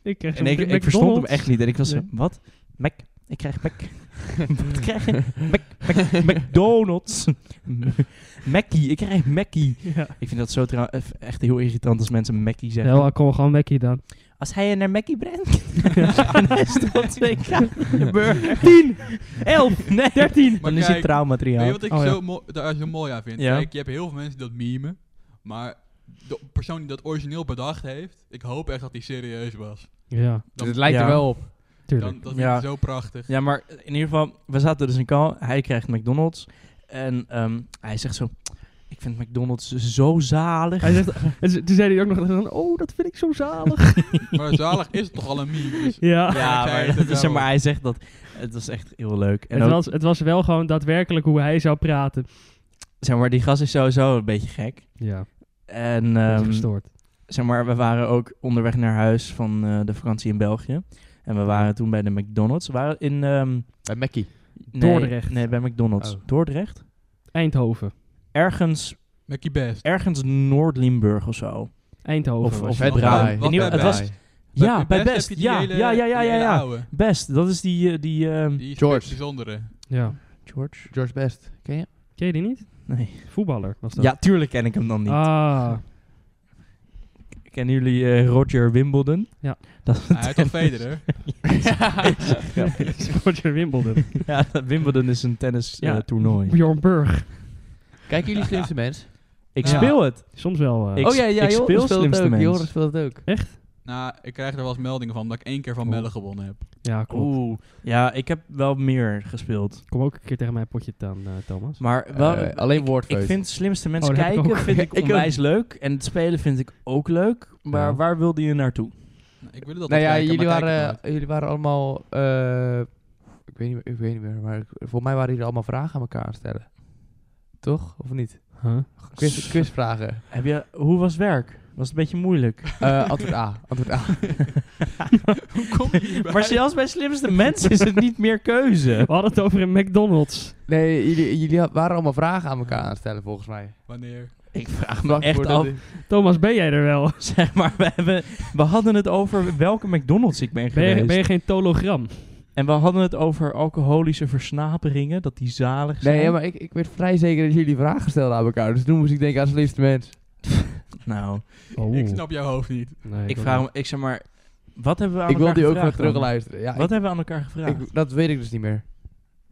B: Ik krijg
A: En
B: zo'n
A: ik, ik
B: McDonald's.
A: verstond hem echt niet. En ik was
B: Nee.
A: zo, wat? Mac? Ik krijg Mac. Wat krijg ik? Mac, Mac, McDonald's. Mackie. Ik krijg Mackie.
B: Ja.
A: Ik vind dat zo trouw- eff- echt heel irritant als mensen Mackie zeggen.
B: Nou, ik kom gewoon Mackie dan.
A: Als hij naar Mackie brengt. en hij stond twee keer in de burger.
B: 10, 11,
A: Nee.
B: 13.
A: Dan
D: Maar
A: is het
D: kijk,
A: trouwmateriaal.
D: Weet je wat ik
B: Oh, ja.
D: zo, mo- daar zo mooi aan vind?
A: Ja.
D: Kijk, je hebt heel veel mensen die dat memen, maar de persoon die dat origineel bedacht heeft, ik hoop echt dat hij serieus was.
B: Ja,
D: Dan-
C: het lijkt
A: ja.
C: er wel op.
B: tuurlijk.
D: Dan, dat
A: Ja.
D: is zo prachtig.
A: Ja, maar in ieder geval, we zaten dus in call. Hij krijgt McDonald's. En ehm, hij zegt zo, ik vind McDonald's zo zalig.
B: Hij zegt, en ze- toen zei hij ook nog, van, oh, dat vind ik zo zalig.
D: Maar zalig is het toch al een meme? Dus
A: ja,
B: ja.
D: Hij zei
A: maar,
D: het
A: dat
D: wel.
A: is, maar hij zegt dat. Het was echt heel leuk. En
B: Het
A: ook-
B: was, het was wel gewoon daadwerkelijk hoe hij zou praten.
A: zeg maar, die gast is sowieso een beetje gek.
B: Ja,
A: En ehm, zeg maar, we waren ook onderweg naar huis van eh, de vakantie in België. En we waren toen bij de McDonald's. We waren in... ehm,
C: Bij Mackie.
A: nee,
B: Dordrecht.
A: Nee, bij McDonald's.
C: Oh.
A: Dordrecht?
B: Eindhoven.
A: Ergens,
D: Mackie Best.
A: ergens Noord-Limburg of zo.
B: Eindhoven.
A: Of-
B: was
A: of
B: het.
A: Vet Braai.
D: Braai.
A: In
D: Wat
A: ieder-
D: bij
A: het was,
D: Braai?
A: ja, bij
D: heb
A: Best.
D: je die
A: ja,
D: hele-
A: ja, ja, ja,
D: die
A: ja,
D: hele
A: ja.
D: oude.
A: Best, dat is die... eh, die ehm,
D: Die is
C: George.
D: bijzondere.
B: ja.
A: George?
C: George Best. Ken je?
B: Ken je die niet?
A: Nee.
B: Voetballer was dat.
A: Ja, tuurlijk ken ik hem dan niet.
B: Ah,
A: Kennen jullie eh, Roger Wimbledon?
B: Ja.
A: Dat
D: Hij heeft toch Federer?
A: ja.
B: Roger Wimbledon.
A: ja, dat- Wimbledon is een tennis eh,
B: Ja.
A: toernooi.
B: Bjorn Burg.
C: Kijken jullie Slimste Mens?
A: Ik
D: Ja.
A: speel het.
B: Soms wel. eh,
A: Ik-
C: oh ja, ja,
A: ik
C: Joris
A: speel
C: speelt het
A: Slimste
C: ook.
A: Mens.
C: Joris speelt het ook.
D: nou, ik krijg er wel eens meldingen van dat ik één keer van Melle gewonnen heb.
B: ja, klopt.
A: Oeh. Ja, ik heb wel meer gespeeld.
B: Kom ook een keer tegen mijn potje dan, eh, Thomas.
A: Maar wel,
C: Eh, alleen
A: ik
C: woordfeut.
A: vind slimste mensen
B: Oh, dat heb ik
A: kijken
B: ook.
A: vind ik
C: Ik ook.
A: onwijs leuk. En het spelen vind ik ook leuk. Maar
B: Ja.
A: waar wilde je naartoe?
D: Nou, ik wilde dat
C: Nou
D: wel
C: ja,
D: kijken,
C: jullie
D: maar kijk het
C: waren,
D: nooit.
C: jullie waren allemaal... eh, ik, weet niet, meer- ik weet niet meer, maar ik- volgens mij waren jullie allemaal vragen aan elkaar aan het stellen. Toch? Of niet?
B: Huh?
C: Quiz, quizvragen.
A: Heb je, hoe was werk? Was het een beetje moeilijk?
C: Eh, antwoord A. Antwoord A.
D: Hoe kom je hierbij?
A: maar zelfs bij slimste mensen is het niet meer keuze.
B: We hadden het over een McDonald's.
C: Nee, jullie, jullie had- waren allemaal vragen aan elkaar aan het stellen, volgens mij.
D: Wanneer?
A: Ik vraag me
C: Vlak
A: echt
C: voordat
A: af.
C: ik-
B: Thomas, ben jij er wel?
A: Zeg maar, we, hebben, we hadden het over welke McDonald's ik ben
B: Ben
A: geweest.
B: je, ben je geen tologram?
A: En we hadden het over alcoholische versnaperingen. Dat die zalig zijn.
C: Nee, ja, maar ik, ik werd vrij zeker dat jullie vragen stelden aan elkaar. Dus toen moest ik denken aan Slimste Mens.
A: Nou,
D: Ik snap jouw hoofd niet.
B: Nee,
A: ik
B: ook
A: vraag
B: niet.
A: me... Ik zeg maar... Wat hebben we aan
C: Ik wil
A: elkaar
C: die ook weer
A: gevraagd dan?
C: terugluisteren. Ja,
A: Wat hebben we aan elkaar gevraagd?
C: ik, ik- dat weet ik dus niet meer.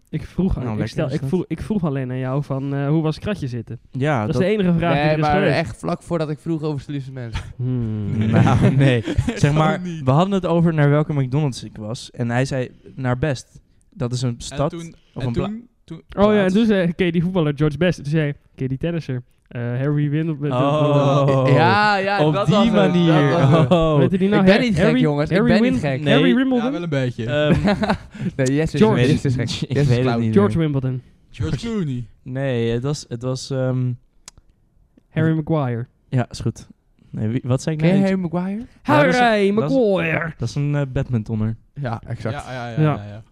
B: Ik vroeg, aan-
A: Nou,
B: ik,
A: lekker
B: stel,
A: is
B: ik,
A: dat.
B: vroeg, ik vroeg alleen aan jou van eh, hoe was kratje zitten?
A: ja,
B: dat, is de enige vraag die
C: nee,
B: er is
C: maar
B: geweest.
C: echt vlak voordat ik vroeg over Slimste Mens.
B: Hmm.
A: Nou, nee. Zeg maar,
D: niet.
A: we hadden het over naar welke McDonald's ik was. En hij zei naar Best. Dat is een
D: En
A: stad
D: toen,
A: of
D: en
A: een pla-
D: toen, toen,
B: Oh ja, en
D: plaats.
B: toen zei ken je die voetballer George Best. Toen zei hij, ken je die tennisser? Eh, Harry Wimbledon.
A: Oh,
C: ja, ja,
A: op
C: Ah, dat
A: die
C: was hem, dat
A: manier.
C: was hem.
A: Oh.
B: Weet je die nou?
C: ik ben
B: Har-
C: niet gek,
B: Harry-
C: jongens.
B: Harry
C: ik ben niet
B: Wim-
C: gek.
A: Nee.
B: Harry
D: Ja,
B: Wimbledon?
D: wel een beetje.
A: Ehm,
C: Nee, yes is
B: George.
C: gek. Yes is gek.
A: Ik
C: Yes is
A: weet het
C: flauw.
A: niet
B: George
A: meer.
B: Wimbledon.
D: George Clooney.
A: Nee, het was... Het was ehm,
B: Harry Maguire.
A: ja, is goed. Nee, wie- wat zei ik
C: Ken
A: nou?
C: je Harry Maguire?
A: Ja, dat is-
B: Harry
A: dat is-
B: Maguire!
A: Dat is een eh, badmintonner.
C: Ja, exact.
D: Ja, ja, ja.
B: Ja.
D: ja, ja.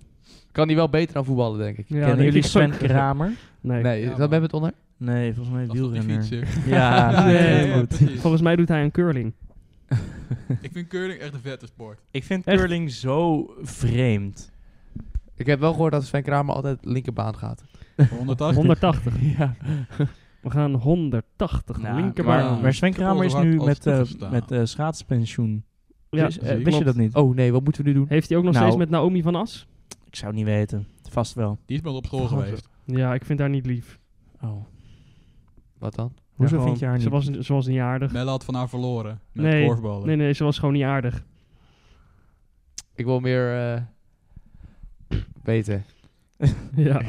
C: Kan die wel beter dan voetballen, denk ik.
B: Ja,
A: Kennen
B: nee,
A: jullie
B: ik-
A: Sven Kramer?
B: Nee.
C: Nee,
D: Ja,
C: is
D: man.
C: dat bij het onder?
A: Nee, volgens mij
D: Dat was die
A: wielrenner.
D: fietser.
A: Ja,
D: Ja,
B: ja,
A: heel
B: ja,
A: goed.
D: precies.
B: Volgens mij doet hij een curling.
D: Ik vind curling echt een vette sport.
A: Ik vind
B: Echt?
A: curling zo vreemd.
C: Ik heb wel gehoord dat Sven Kramer altijd linkerbaan gaat.
D: 180.
B: 180.
C: Ja.
B: We gaan 180
A: Nou,
B: linkerbaan.
A: maar, maar Sven
D: Schiphol
A: Kramer is
D: wordt
A: nu
D: als
A: met, eh,
D: toegestaan.
A: met eh, schaatspensioen.
B: Ja,
A: Wist- eh,
D: precies.
A: wist je
B: klopt.
A: dat niet?
C: Oh nee, wat moeten we nu doen?
B: Heeft hij ook nog
A: Nou.
B: steeds met Naomi van As?
A: Ik zou het niet weten. Vast wel.
D: Die is maar op school
C: Gozer.
D: geweest.
B: Ja, ik vind haar niet lief.
A: Oh.
C: Wat dan?
A: Hoezo
B: Ja,
A: vind je haar
B: Ze
A: niet?
B: was, ze was niet aardig.
D: Melle had van haar verloren. Met
B: Nee,
D: korfballen.
B: Nee, nee, ze was gewoon niet aardig.
C: Ik wil meer eh, weten.
B: ja.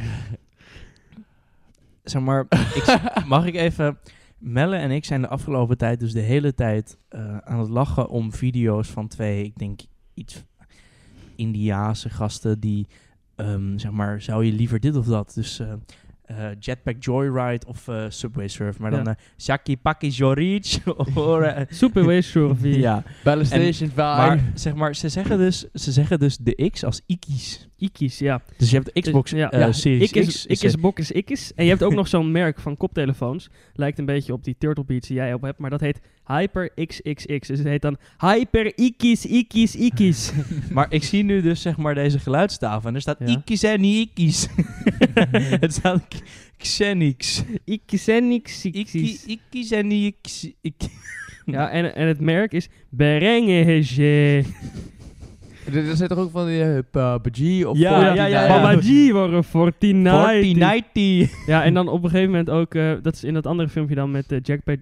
A: zeg maar, ik, mag ik even... Melle en ik zijn de afgelopen tijd dus de hele tijd eh, aan het lachen om video's van twee, ik denk iets Indiaanse gasten die, ehm, zeg maar, zou je liever dit of dat? Dus eh, eh, Jetpack Joyride of eh, Subway Surf, maar dan
B: Ja.
A: eh Shaki Paki Jorich. or, eh,
B: Superway Survey.
A: ja,
C: Ballestation 5.
A: maar zeg maar, ze zeggen dus, ze zeggen dus de X als Iki's.
B: Ikies, ja.
A: Dus je hebt de Xbox
B: Ja.
A: eh,
B: Ja.
A: Series
B: Ik
A: X.
B: is, ik is bok is ik is. En je hebt ook nog zo'n merk van koptelefoons. Lijkt een beetje op die Turtle Beats die jij op hebt. Maar dat heet Hyper XXX. Dus het heet dan Hyper Ikies Ikies Ikies.
A: Maar ik zie nu dus zeg maar deze geluidstafel en er staat
B: Ja.
A: ikkies en niet ikkies. het staat k- xenix.
B: Ikies en niks
A: Ikkie-
B: Ikies.
A: Ikkies en niet ikkies. ik-
B: Ja, en, en het merk is Berengehege.
C: Er er zit toch ook van die eh, PUBG of
A: Ja,
C: Fortnite?
A: ja, ja, ja.
B: Mama Oh G waren 49.
A: 4090.
B: Ja, en dan op een gegeven moment ook, eh, dat is in dat andere filmpje dan met eh, Jack Pate,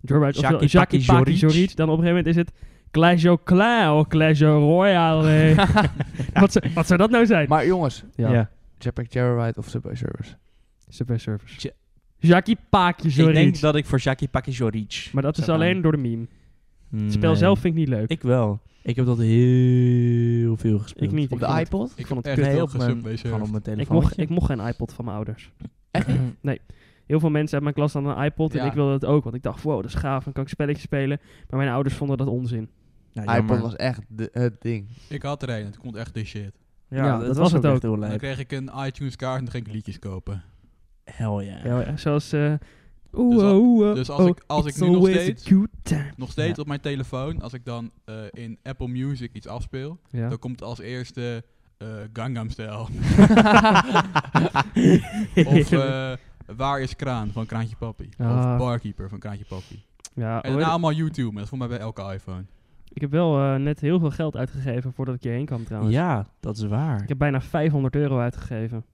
B: Jorwright, of
A: Jackie
B: Jackie
A: Paki
B: Paki
A: Joric.
B: Joric. Dan op een gegeven moment is het Clash Claw, Clash Royale. eh. wat, zou, wat zou dat nou zijn?
C: Maar jongens,
B: ja,
C: Jetpack Joyride of Subway Servers?
B: Super Service.
A: Ja.
B: Jackie Paki
A: Ik denk
B: Joric.
A: dat ik voor Shaki Paki Joric.
B: Maar dat is
A: zou
B: alleen
A: gaan.
B: door de meme.
A: Hmm, Nee.
B: Het spel zelf vind ik niet leuk.
A: Ik wel. Ik heb dat heel veel gespeeld.
B: Ik niet.
C: Op
B: vond
C: de
B: het-
C: iPod?
D: Ik
B: vond
D: vond
B: het
D: echt
A: Nee,
D: heel
A: op mijn,
D: gesubway
A: gewoon op
D: surfed.
A: mijn
B: Ik
A: telefoon.
B: mocht, ik mocht geen iPod van mijn ouders. nee. Heel veel mensen uit mijn klas hadden een iPod en
D: Ja.
B: ik wilde dat ook. Want ik dacht, wow, dat is gaaf, dan kan ik spelletjes spelen. Maar mijn ouders vonden dat onzin.
A: Ja,
C: iPod
A: Nou, jammer.
C: was echt de, het ding.
D: Ik had er een. Het kon echt de shit.
A: Ja,
B: Ja,
A: dat, was,
B: dat was het
A: ook,
B: ook.
A: echt heel
D: En dan
A: leuk.
D: kreeg ik een iTunes kaart en dan ging ik liedjes kopen.
A: Hell yeah.
B: Ja, ja, zoals... eh
D: Dus
B: oeh,
D: al-
B: oeh, oeh,
D: dus als
B: oh,
D: ik- als ik
B: it's
D: nu nog
B: always a
D: steeds-
B: cute time.
D: Nog steeds
A: Ja.
D: op mijn telefoon, als ik dan eh, in Apple Music iets afspeel,
B: Ja.
D: dan komt als eerste eh Gangnam Style. of eh, Waar is Kraan van Kraantje Papi.
B: Ah.
D: Of Barkeeper van Kraantje Papi.
B: ja,
D: En
B: hoor,
D: daarna allemaal YouTube, maar dat is voor mij bij elke iPhone.
B: ik heb wel eh, net heel veel geld uitgegeven voordat ik hierheen kwam trouwens.
A: Ja, dat is waar.
B: Ik heb bijna 500 euro uitgegeven. Ah,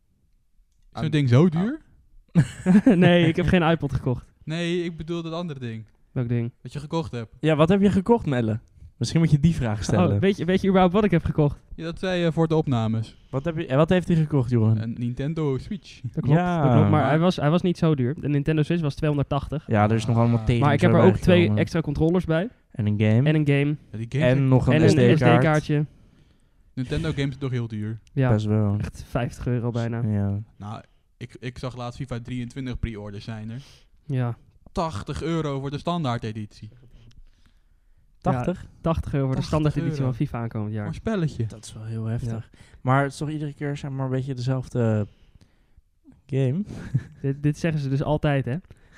D: Is zo'n ding zo duur?
B: nee, ik heb geen iPod gekocht.
D: Nee, ik bedoel dat andere ding.
B: Welk ding?
D: Dat je gekocht hebt.
A: Ja, wat heb je gekocht, Melle? Misschien moet je die vraag stellen.
B: Oh, weet, je, weet je überhaupt wat ik heb gekocht?
D: Ja, dat zei je voor de opnames.
A: wat, heb je, en wat heeft hij gekocht, Johan?
D: Een Nintendo Switch.
B: Dat klopt,
A: Ja.
B: dat klopt. Maar hij was, hij was niet zo duur. De Nintendo Switch was 280.
A: Ja, er is nog allemaal
D: Ah.
A: tegen.
B: Maar ik heb er ook twee extra controllers bij.
A: En een game.
B: En
A: En,
B: een game.
D: Ja, die games
A: nog een
B: En een
A: SD-kaart.
B: SD-kaartje.
D: Nintendo games zijn toch heel duur.
B: Ja,
A: Best wel.
B: echt 50 euro bijna.
A: Ja.
D: Nou, ik, ik zag laatst FIFA 23 pre-orders zijn er.
B: Ja,
D: 80 euro voor de standaard editie.
A: 80?
B: 80 euro voor de
D: 80
B: standaard editie
D: euro.
B: van FIFA aankomend
D: Voor een
B: jaar.
D: spelletje.
A: Dat is wel heel heftig. Maar het is toch iedere keer zeg maar een beetje dezelfde game?
B: Dit, dit zeggen ze dus altijd, hè?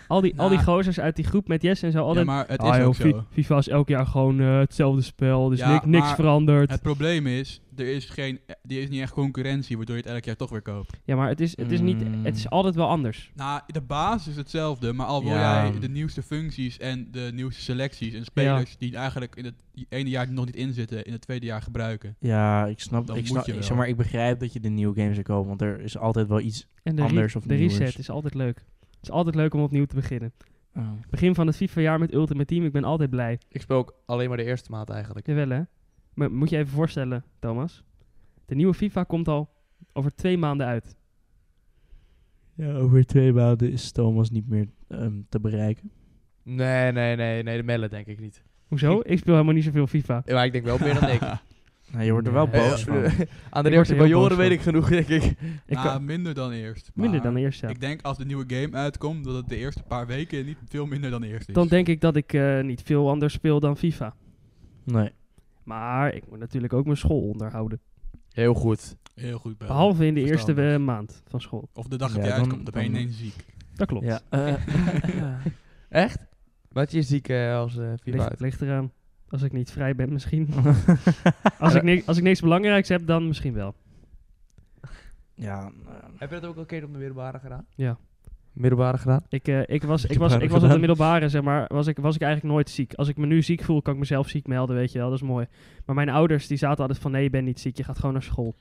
B: Al die, al die
D: Nou.
B: gozers uit die groep met Yes en zo,
D: Ja,
B: altijd...
D: maar het
B: Ah,
D: is
B: joh,
D: ook
B: Fi-
D: zo.
B: FIFA is elk jaar gewoon eh, hetzelfde spel, dus
D: Ja,
B: nik- niks
D: maar
B: veranderd.
D: Het probleem is, er is, geen, er is niet echt concurrentie, waardoor je het elk jaar toch weer koopt.
B: ja, maar het is, het, is niet,
A: Mm.
B: het is altijd wel anders.
D: Nou, de basis is hetzelfde, maar al wil
A: Ja.
D: jij de nieuwste functies en de nieuwste selecties en spelers die eigenlijk in het die ene jaar nog niet in zitten, in het tweede jaar gebruiken.
A: Ja, ik snap.
D: Dan
A: Ik
D: moet
A: snap
D: je wel.
A: zeg maar, ik begrijp dat je de nieuwe games wil kopen, want er is altijd wel iets.
B: En de, re-
A: Anders of
B: de
A: nieuws.
B: reset is altijd leuk. Het is altijd leuk om opnieuw te beginnen.
A: Oh.
B: Begin van het FIFA-jaar met Ultimate Team, ik ben altijd blij.
C: Ik speel ook alleen maar de eerste maand eigenlijk.
B: Jawel, hè? Maar moet je even voorstellen, Thomas. De nieuwe FIFA komt al over twee maanden uit.
A: Ja, over twee maanden is Thomas niet meer ehm, te bereiken.
C: Nee, nee, nee, nee, de mellen denk ik niet.
B: Hoezo? Ik speel helemaal niet zoveel FIFA.
C: Maar ik denk wel meer dan ik.
A: Nou, je wordt er wel
B: Nee.
A: boos van.
C: Eh, aan de
B: Ik word
C: reactie
B: er
C: van
B: heel
C: Joren
B: boos
C: weet ik genoeg, denk ik.
B: Ik
D: nou,
B: kan-
D: minder dan eerst.
B: minder
D: maar
B: dan eerst, ja.
D: Ik denk als de nieuwe game uitkomt, dat het de eerste paar weken niet veel minder dan eerst is.
B: Dan denk ik dat ik eh, niet veel anders speel dan FIFA.
A: Nee.
B: Maar ik moet natuurlijk ook mijn school onderhouden.
C: Heel goed.
D: Heel goed bij.
B: Behalve in de eerste
D: verstandig.
B: eh, maand van school.
D: Of de dag
A: Ja,
D: dat je
A: dan-
D: uitkomt, dan ben je
A: dan-
D: ineens ziek.
B: Dat klopt.
A: Ja. eh,
C: Echt? Wat je ziek eh, als eh FIFA
B: Ligt,
C: uit.
B: ligt eraan. Als ik niet vrij ben, misschien. als, ik ni- als ik niks belangrijks heb, dan misschien wel.
A: ja, nou ja.
C: Heb je dat ook al een keer op de middelbare gedaan? middelbare gedaan?
B: Ik, eh, ik was, ik was,
A: Middelbare
B: ik was op de
A: gedaan.
B: middelbare, zeg maar, was ik, was ik eigenlijk nooit ziek. Als ik me nu ziek voel, kan ik mezelf ziek melden, weet je wel. Dat is mooi. Maar mijn ouders, die zaten altijd van, nee, je bent niet ziek, je gaat gewoon naar school.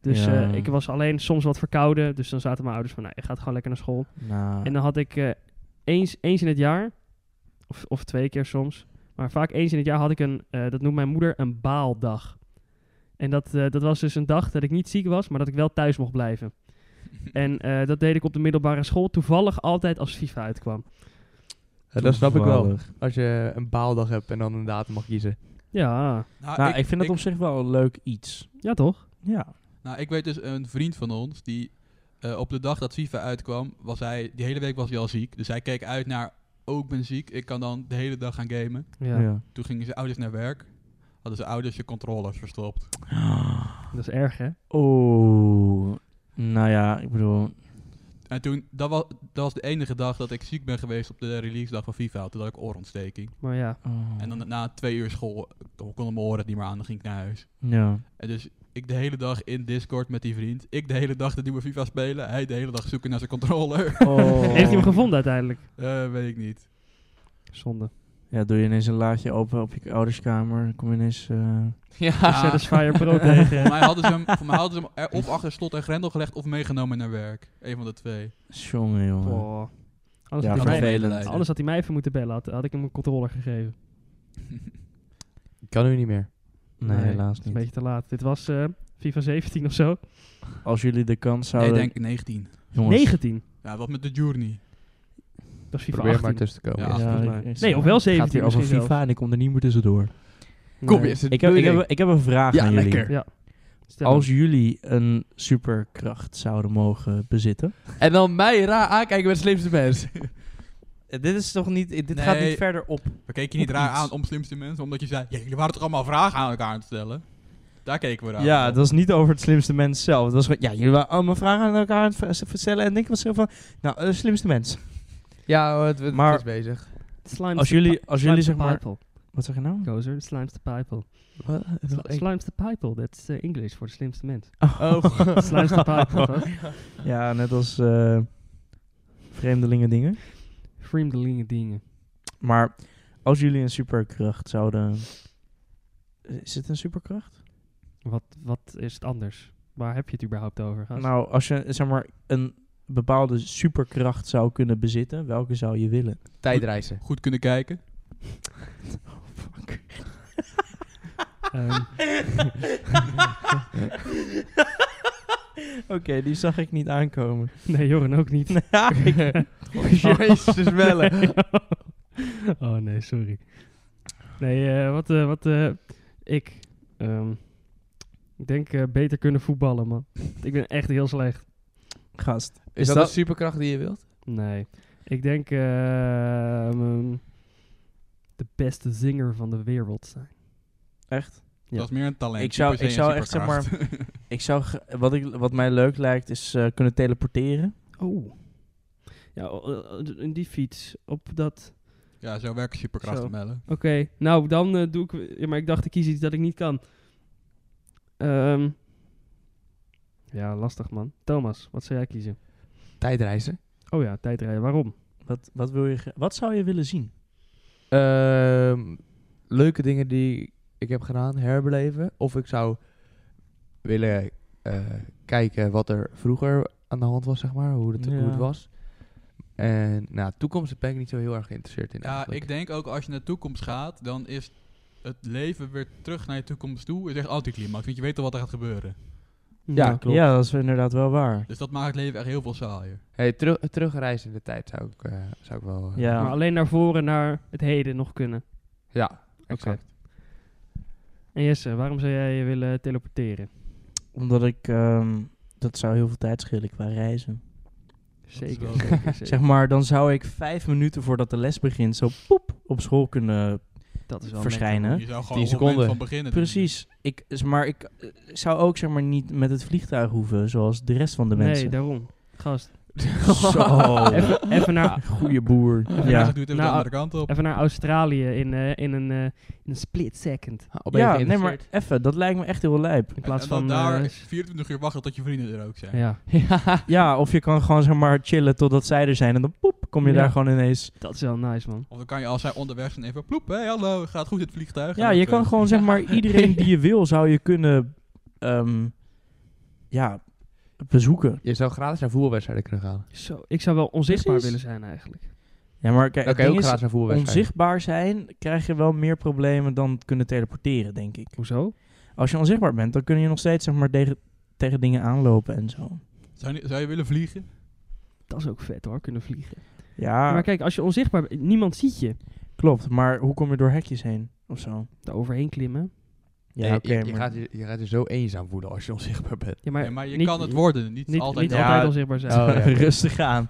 B: Dus
A: Ja.
B: eh, ik was alleen soms wat verkouden. Dus dan zaten mijn ouders van, nou, je gaat gewoon lekker naar school.
A: Nou,
B: En dan had ik eh, eens, eens in het jaar, of, of twee keer soms, maar vaak eens in het jaar had ik een, eh, dat noemt mijn moeder, een baaldag. En dat, eh, dat was dus een dag dat ik niet ziek was, maar dat ik wel thuis mocht blijven. En eh, dat deed ik op de middelbare school, toevallig altijd als FIFA uitkwam.
C: Eh, dat snap ik wel.
A: toevallig.
C: Als je een baaldag hebt en dan een datum mag kiezen.
B: Ja,
A: Nou, ik, vind het op zich wel een leuk iets.
B: ja toch?
A: Ja.
D: Nou, ik weet dus een vriend van ons die eh, op de dag dat FIFA uitkwam, was hij, die hele week was hij al ziek. Dus hij keek uit naar, oh ik ben ziek, ik kan dan de hele dag gaan gamen.
B: Ja,
D: Toen gingen zijn ouders naar werk, hadden zijn ouders je controllers verstopt.
B: dat is erg hè?
A: Oh. Nou ja, ik bedoel...
D: En toen, dat was, dat was de enige dag dat ik ziek ben geweest op de release dag van FIFA. Toen had ik oorontsteking.
B: Maar ja,
A: oh,
D: En dan na twee uur school eh, kon konden mijn oren niet meer aan, dan ging ik naar huis.
A: Ja.
D: En dus ik de hele dag in Discord met die vriend. Ik de hele dag de nieuwe FIFA spelen. Hij de hele dag zoeken naar zijn controller.
A: Oh.
B: heeft hij hem gevonden uiteindelijk?
D: Eh, weet ik niet.
B: Zonde.
A: Ja, doe je ineens een laadje open op je ouderskamer, dan kom je ineens... eh,
C: Ja.
D: Ah.
B: Satisfyer Pro tegen.
D: Voor mij hadden ze dus hem, voor mij hadden ze hem er of achter slot en grendel gelegd of meegenomen naar werk. Eén van de twee.
A: Jongen, jongen.
B: Oh. Anders,
A: Ja,
B: had hij mij,
A: vervelend.
B: anders had hij mij even moeten bellen, had, had ik hem een controller gegeven.
C: Kan nu niet meer.
A: Nee,
B: Nee,
A: helaas
B: Het is
A: niet.
B: een beetje te laat. Dit was eh FIFA 17 of zo.
A: Als jullie de kans
D: Nee,
A: zouden...
D: ik denk 19.
A: Jongens,
B: 19.
D: Ja, wat met de journey.
B: Dat is FIFA
C: Probeer maar
B: 18.
C: tussen te komen. Ja.
D: Ja.
A: ja,
D: volgens
A: ik-
D: mij.
A: ik-
B: Nee, of wel
A: het gaat
B: 17
A: weer over
B: misschien
A: FIFA
B: zelfs.
A: en ik kom er niet meer tussendoor.
C: Kom
B: Nee.
C: eens. het
A: Ik heb, ik,
C: doe je
A: heb, ik heb een vraag
C: Ja,
A: aan jullie.
C: lekker.
B: Ja. Stel
A: Als
B: hem.
A: jullie een superkracht zouden mogen bezitten...
C: ding. En dan mij raar aankijken met de slimste mens.
A: Dit is toch niet... Dit
D: gaat Nee. niet
A: verder op.
D: We keken je niet
A: Op
D: raar
A: iets.
D: aan om slimste mensen, omdat je zei, ja, jullie waren toch allemaal vragen aan elkaar aan het stellen? Daar keken we raar
A: Ja,
D: op.
A: dat was niet over het slimste mens zelf. Het was gewoon... Ja, jullie waren allemaal vragen aan elkaar aan het vertellen. En ik was zo van... Nou, eh, slimste mens.
C: Ja, hoor, het, het
A: Maar-
C: is bezig.
B: Slimes
A: Als
B: the
A: jullie,
B: pi-
A: als jullie
B: slimes
A: zeg
B: the
A: maar...
B: Piple.
A: Wat zeg je nou?
B: Gozer, slimes the pipe. Slimes the pipe, dat is eh, English voor de slimste mens.
A: Oh.
B: Slimes the pipe.
A: Ja, net als eh, vreemdelingen dingen.
B: Vreemdelingen dingen.
A: Maar als jullie een superkracht zouden... Is het een superkracht?
B: Wat, wat is het anders? Waar heb je het überhaupt over? gast?
A: Nou, als je zeg maar een bepaalde superkracht zou kunnen bezitten, welke zou je willen?
C: Tijdreizen.
D: Goed kunnen kijken.
B: Ehm,
A: Oké, die zag ik niet aankomen.
B: nee, Joren ook niet.
C: Jezus bellen.
B: oh nee, sorry. Nee, eh, wat, eh, wat eh, ik. ehm, ik denk eh, beter kunnen voetballen, man. Ik ben echt heel slecht.
A: Gast.
C: Is dat
A: dat-
C: een superkracht die je wilt?
B: Nee. Ik denk ehm, de beste zinger van de wereld zijn.
A: Echt?
B: Ja.
D: Dat is meer een talent.
A: Ik zou-
D: niet per se
A: ik zou
D: een
A: echt, zeg maar,
D: superkracht.
A: Ik zou, ge- wat, ik, wat mij leuk lijkt is eh, kunnen teleporteren.
B: Oh. Ja, o- o- o- in die fiets. Op dat.
D: ja, zo werken superkrachten,
B: Zo.
D: Mellen.
B: Oké, nou dan eh, doe ik. Ja, maar ik dacht, ik kies iets dat ik niet kan. Ehm, ja, lastig man. Thomas, wat zou jij kiezen?
C: Tijdreizen.
B: Oh ja, tijdrijden. Waarom?
A: Wat, wat, wil je, ge- wat zou je willen zien?
C: Ehm, leuke dingen die ik heb gedaan, herbeleven. Of ik zou willen eh, kijken wat er vroeger aan de hand was, zeg maar. Hoe het, hoe
A: Ja.
C: het was. En nou, toekomst ben ik niet zo heel erg geïnteresseerd in
D: Ja,
C: eigenlijk.
D: ik denk ook als je naar de toekomst gaat, dan is het leven weer terug naar je toekomst toe. Het is echt anticlimax, want je weet al wat er gaat gebeuren.
C: Ja,
B: Nou,
C: klopt.
A: Ja, dat is inderdaad wel waar.
D: Dus dat maakt het leven echt heel veel saaier.
C: Hey, terug, terugreizen in de tijd zou ik, eh, zou ik wel... eh,
A: Ja.
B: Maar alleen naar voren, naar het heden nog kunnen.
C: ja, exact.
B: En Jesse, waarom zou jij je willen teleporteren?
A: Omdat ik... ehm, dat zou heel veel tijd schelen qua reizen.
B: Zeker.
D: wel-
B: zeker,
A: Zeg
B: zeker.
A: maar, dan zou ik vijf minuten voordat de les begint zo poep op school kunnen.
B: Dat is wel
A: verschijnen.
B: lekker,
D: Je zou gewoon
C: 10
D: op het moment
C: seconden.
D: van beginnen. doen.
A: Precies. Ik, s- maar ik eh, zou ook zeg maar niet met het vliegtuig hoeven, zoals de rest van de
B: man.
A: mensen.
B: Nee, daarom. Gast.
A: Zo.
B: Even, even, naar,
C: Goeie boer.
A: Ja.
D: Ja. Ik doe het even
B: Nou,
D: de andere kant op.
B: even naar Australië in, eh, in, een, eh, in een split second.
C: Al ben je
A: Ja, nee, maar
C: geïnteresseerd.
A: even. Dat lijkt me echt heel lijp.
B: In plaats
D: en
B: van...
D: dan
B: eh,
D: daar 24 uur wachten tot je vrienden er ook zijn.
B: ja,
C: Ja.
A: Ja, of je kan gewoon zeg maar chillen totdat zij er zijn. En dan poep, kom je
B: Ja.
A: daar gewoon ineens.
B: dat is wel nice, man.
D: Of dan kan je als zij onderweg zijn even ploep, hé hallo, gaat goed in het vliegtuig?
A: Ja,
D: En
A: je
D: dan,
A: kan
D: eh,
A: gewoon zeg maar iedereen die je wil zou je kunnen ehm, ja, bezoeken.
C: Je zou gratis naar voetbalwedstrijden kunnen gaan.
B: Zo, ik zou wel onzichtbaar
A: Precies.
B: willen zijn eigenlijk.
A: Ja, maar kijk,
C: Dan
A: het
C: kan je
A: ding
C: ook
A: is,
C: gratis naar voetbalwedstrijden.
A: onzichtbaar zijn krijg je wel meer problemen dan kunnen teleporteren, denk ik.
B: Hoezo?
A: Als je onzichtbaar bent, dan kun je nog steeds zeg maar tegen, tegen dingen aanlopen en zo.
D: Zou je, zou je willen vliegen?
B: Dat is ook vet hoor, kunnen vliegen.
A: Ja,
B: Maar kijk, als je onzichtbaar bent, niemand ziet je.
A: klopt. Maar hoe kom je door hekjes heen of zo?
B: Daar overheen klimmen.
A: Ja,
C: Nee,
A: oké.
C: je, je
A: maar-
C: gaat je, je gaat je zo eenzaam voelen als je onzichtbaar bent.
B: Ja, maar,
D: Maar, maar je
B: niet-
D: kan het worden, niet,
B: Niet
D: altijd.
B: altijd, niet
A: Ja.
B: altijd onzichtbaar zijn.
C: Oh, ja.
A: Rustig aan.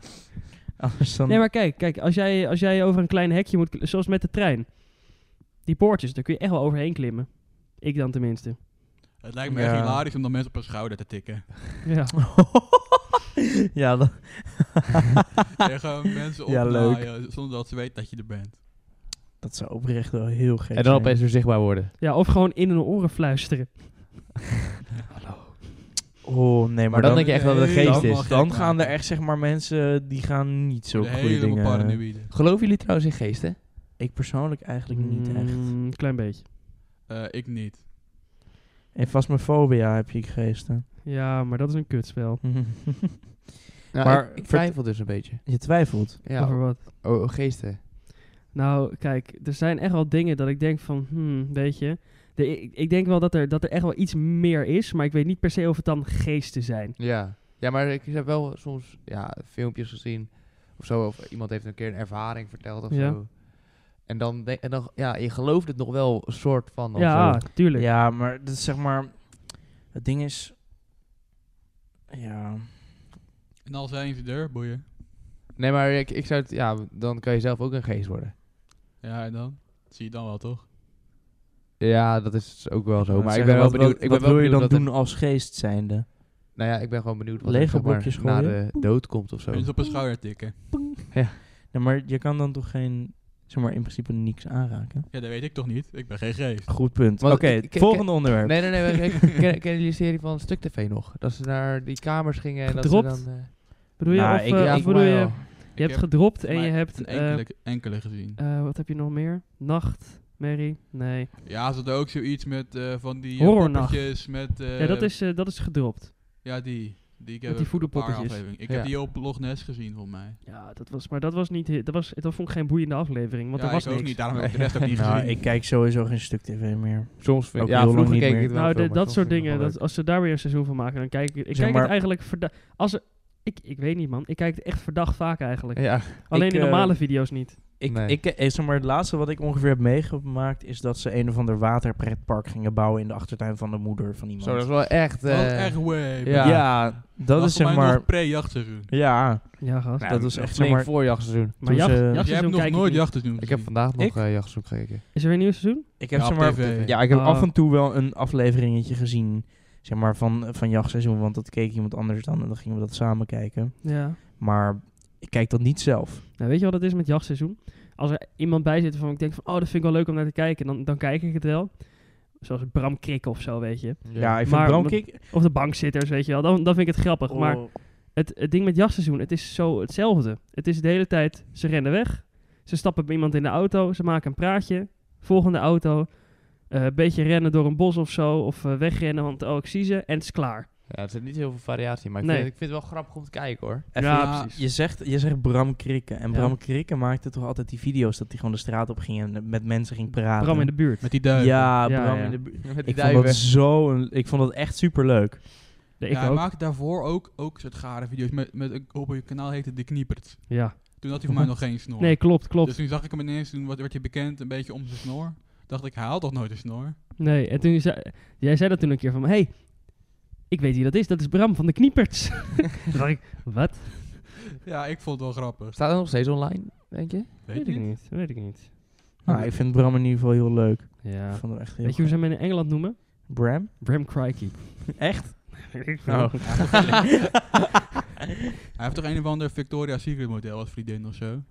A: Anders dan...
B: Nee, maar kijk, kijk als, jij, als jij over een klein hekje moet... kl- Zoals met de trein. Die poortjes, daar kun je echt wel overheen klimmen. Ik dan tenminste.
D: Het lijkt me echt
A: Ja.
D: hilarisch om dan mensen op hun schouder te tikken.
B: Ja.
A: ja, dat...
D: en gewoon mensen
A: Ja,
D: opnaaien zonder dat ze weten dat je er bent.
A: dat zou oprecht wel heel gek
C: En dan
A: zijn.
C: opeens weer zichtbaar worden.
B: ja, of gewoon in hun oren fluisteren.
A: Oh, nee, maar,
C: Maar dan
A: dan,
C: denk je echt dat het een geest
D: Helemaal
C: is.
D: gek
A: dan gaan er
D: maken.
A: echt zeg maar mensen die gaan niet zo
D: Worden
A: goede
D: helemaal
A: dingen...
C: eh.
D: paranoïde.
C: Geloven jullie trouwens in geesten?
A: Ik persoonlijk eigenlijk niet echt.
B: Mm, klein beetje.
D: Eh, ik niet.
A: En vasmofobia heb je geesten.
B: Ja, maar dat is een kutspel.
A: Maar
C: maar ik, ik twijfel dus een beetje.
A: je twijfelt.
B: Over
C: Ja,
B: wat?
C: oh, geesten.
B: Nou, kijk, er zijn echt wel dingen dat ik denk van, hmm, weet je. De, ik, ik denk wel dat er, dat er echt wel iets meer is, maar ik weet niet per se of het dan geesten zijn.
C: Ja. ja, maar ik heb wel soms ja, filmpjes gezien of zo. Of iemand heeft een keer een ervaring verteld of
B: Ja.
C: zo. En dan, denk- en dan, ja, je gelooft het nog wel een soort van. of
B: ja, ah,
C: zo.
B: tuurlijk.
A: Ja, maar dat is zeg maar... Het ding is... Ja...
D: En al zijn ze er, boeien.
C: Nee, maar ik, ik zou het, ja, dan kan je zelf ook een geest worden.
D: Ja, en dan? Dat zie je dan wel, toch?
C: Ja, dat is ook wel zo.
A: Laat
C: Maar ik
A: zeggen,
C: ben wel
A: wat-
C: benieuwd.
A: Wat,
C: ik
A: wat
C: ben wel
A: wil je dan
C: benieuwd
A: doen
C: wat er-
A: als geest zijnde?
C: nou ja, ik ben gewoon benieuwd wat er,
A: Lego
C: zeg maar,
A: blokjes
C: na
A: gooien?
C: de dood komt of zo.
D: Mensen op hun schouder tikken.
A: Nee, maar je kan dan toch geen... Zeg maar in principe niks aanraken?
D: Ja, dat weet ik toch niet? Ik ben geen geest.
A: Goed punt. Oké,
C: Want ik-
A: het
C: ik- ik-
A: volgende onderwerp.
C: Nee, nee, nee. maar ken- Kennen jullie de serie van Stuk TV nog? Dat ze naar die kamers gingen en dat
B: Gedropt?
C: ze dan... eh,
B: Bedoel je,
A: Nou,
B: of,
A: ik-
B: eh,
A: ja,
B: of
C: voor
B: bedoel je,
C: mij wel.
B: je hebt
D: heb
B: gedropt en
D: maar
B: je hebt,
D: Een
B: eh,
D: enkele, enkele gezien.
B: eh, wat heb je nog meer? Nacht, Mary? Nee.
D: Ja, ze hadden ook zoiets met eh, van die eh,
B: Horrornacht.
D: poppetjes met... eh,
B: ja, dat is, eh, dat is gedropt.
D: Ja, die. die
B: Met
D: ik heb
B: die
D: een paar
B: voederpoppetjes.
D: afleveringen. Ik
C: Ja.
D: heb die op Loch Ness gezien, volgens mij.
B: Ja, dat was, maar dat was niet, he- dat was, dat vond ik geen boeiende aflevering, want
D: ja,
B: er was
D: ik ook
B: niks.
D: niet. Daarom heb ik de rest ook niet
A: Nou,
D: gezien.
A: ik kijk sowieso geen stuk tv meer.
C: Soms vind
A: Ook
C: ja,
A: heel lang
C: vroeger
A: niet
C: keek
A: meer.
C: ik het wel
B: nou,
C: veel,
B: de-
C: maar
B: dat
C: soms
B: soort
C: vind ik het
B: dingen,
C: wel
B: dat, als ze daar weer een seizoen van maken, dan kijk ik, ik
A: Zeg
B: kijk
A: maar-
B: het eigenlijk verdacht, als er, ik, ik weet niet man, ik kijk het echt verdacht vaak eigenlijk.
C: leuk. Ja,
B: Alleen
A: Ik,
B: in
A: eh,
B: normale video's niet.
A: Ik,
C: Nee.
A: ik, eh, zeg maar, het laatste wat ik ongeveer heb meegemaakt is dat ze een of ander waterpretpark gingen bouwen in de achtertuin van de moeder van iemand.
C: zo, dat is wel echt...
D: Dat was
C: eh,
D: echt way.
C: ja.
A: ja. dat is zeg maar.
D: pre-jachtseizoen.
A: Ja,
B: Ja, gast.
A: dat was echt zeg
C: flink
A: maar.
C: voor jachtseizoen.
B: Nou, maar jacht,
A: ze-
C: eh,
D: Dus jij
B: jachtseizoen
D: hebt nog
B: kijk ik
D: nooit
B: niet.
D: jachtseizoen
C: Ik heb
D: gezien.
C: vandaag nog
A: Ik?
C: eh jachtseizoen gekeken.
B: Is er weer een nieuw seizoen?
A: Ik heb
D: Ja,
A: zeg
D: op
A: maar.
D: TV.
A: Ja, ik heb
B: Ah.
A: af en toe wel een afleveringetje gezien. Zeg maar van, van jachtseizoen, want dat keek iemand anders dan en dan gingen we dat samen kijken.
B: Ja.
A: Maar ik kijk dat niet zelf.
B: Nou, weet je wat het is met jachtseizoen? Als er iemand bij zit waarvan ik denk van, oh, dat vind ik wel leuk om naar te kijken, dan, dan kijk ik het wel. Zoals Bram Krik of zo, weet je.
A: Ja, ik vind
B: Maar-
A: Bram Kik-
B: Of de bankzitters, weet je wel. Dan, dan vind ik het grappig. Maar
A: Oh,
B: het, het ding met jachtseizoen, het is zo hetzelfde. Het is de hele tijd, ze rennen weg. Ze stappen bij iemand in de auto, ze maken een praatje. Volgende auto. eh, Een beetje rennen door een bos of zo. Of eh, wegrennen, want oh, ik zie ze. En het is klaar.
C: Ja, er zit niet heel veel variatie, maar ik,
B: Nee.
C: vind, ik vind het wel grappig om te kijken hoor.
A: Even,
B: ja,
D: ja,
B: precies.
A: Je zegt, je zegt Bram Krikken. En
B: Ja.
A: Bram Krikken maakte toch altijd die video's dat hij gewoon de straat op ging en met mensen ging praten.
B: Bram in de buurt.
D: Met die duiven.
A: Ja,
B: Ja,
A: Bram
B: ja.
A: in de buurt.
C: Met die
A: Ik vond, dat zo een- ik vond dat echt super leuk.
B: Nee, ik
D: Ja, hij
B: ook.
D: maakte daarvoor ook, ook soort gare video's. Met, met, een- op je kanaal heette De Kniepert.
B: Ja.
D: Toen had hij voor mij nog geen snor.
B: Nee, klopt, klopt.
D: Dus toen zag ik hem ineens, toen werd- werd hij bekend, een beetje om zijn snor. Dacht ik, hij haalt toch nooit een snor?
B: Nee, en toen zei, jij zei dat toen een keer van, hey, ik weet wie dat is, dat is Bram van de Knieperts. toen dacht ik, wat?
D: Ja, ik vond het wel grappig.
C: Staat het nog steeds online, denk je?
D: Weet
B: ik
D: je?
B: niet, weet ik niet.
A: Nou, ik vind Bram in ieder geval heel leuk.
B: Ja.
A: Ik vond hem echt heel
B: Weet je hoe ze hem in Engeland noemen?
A: Bram?
B: Bram Crikey.
A: Echt?
B: Weet ik veel.
D: Hij heeft toch een of ander Victoria's Secret model als vriendin of zo?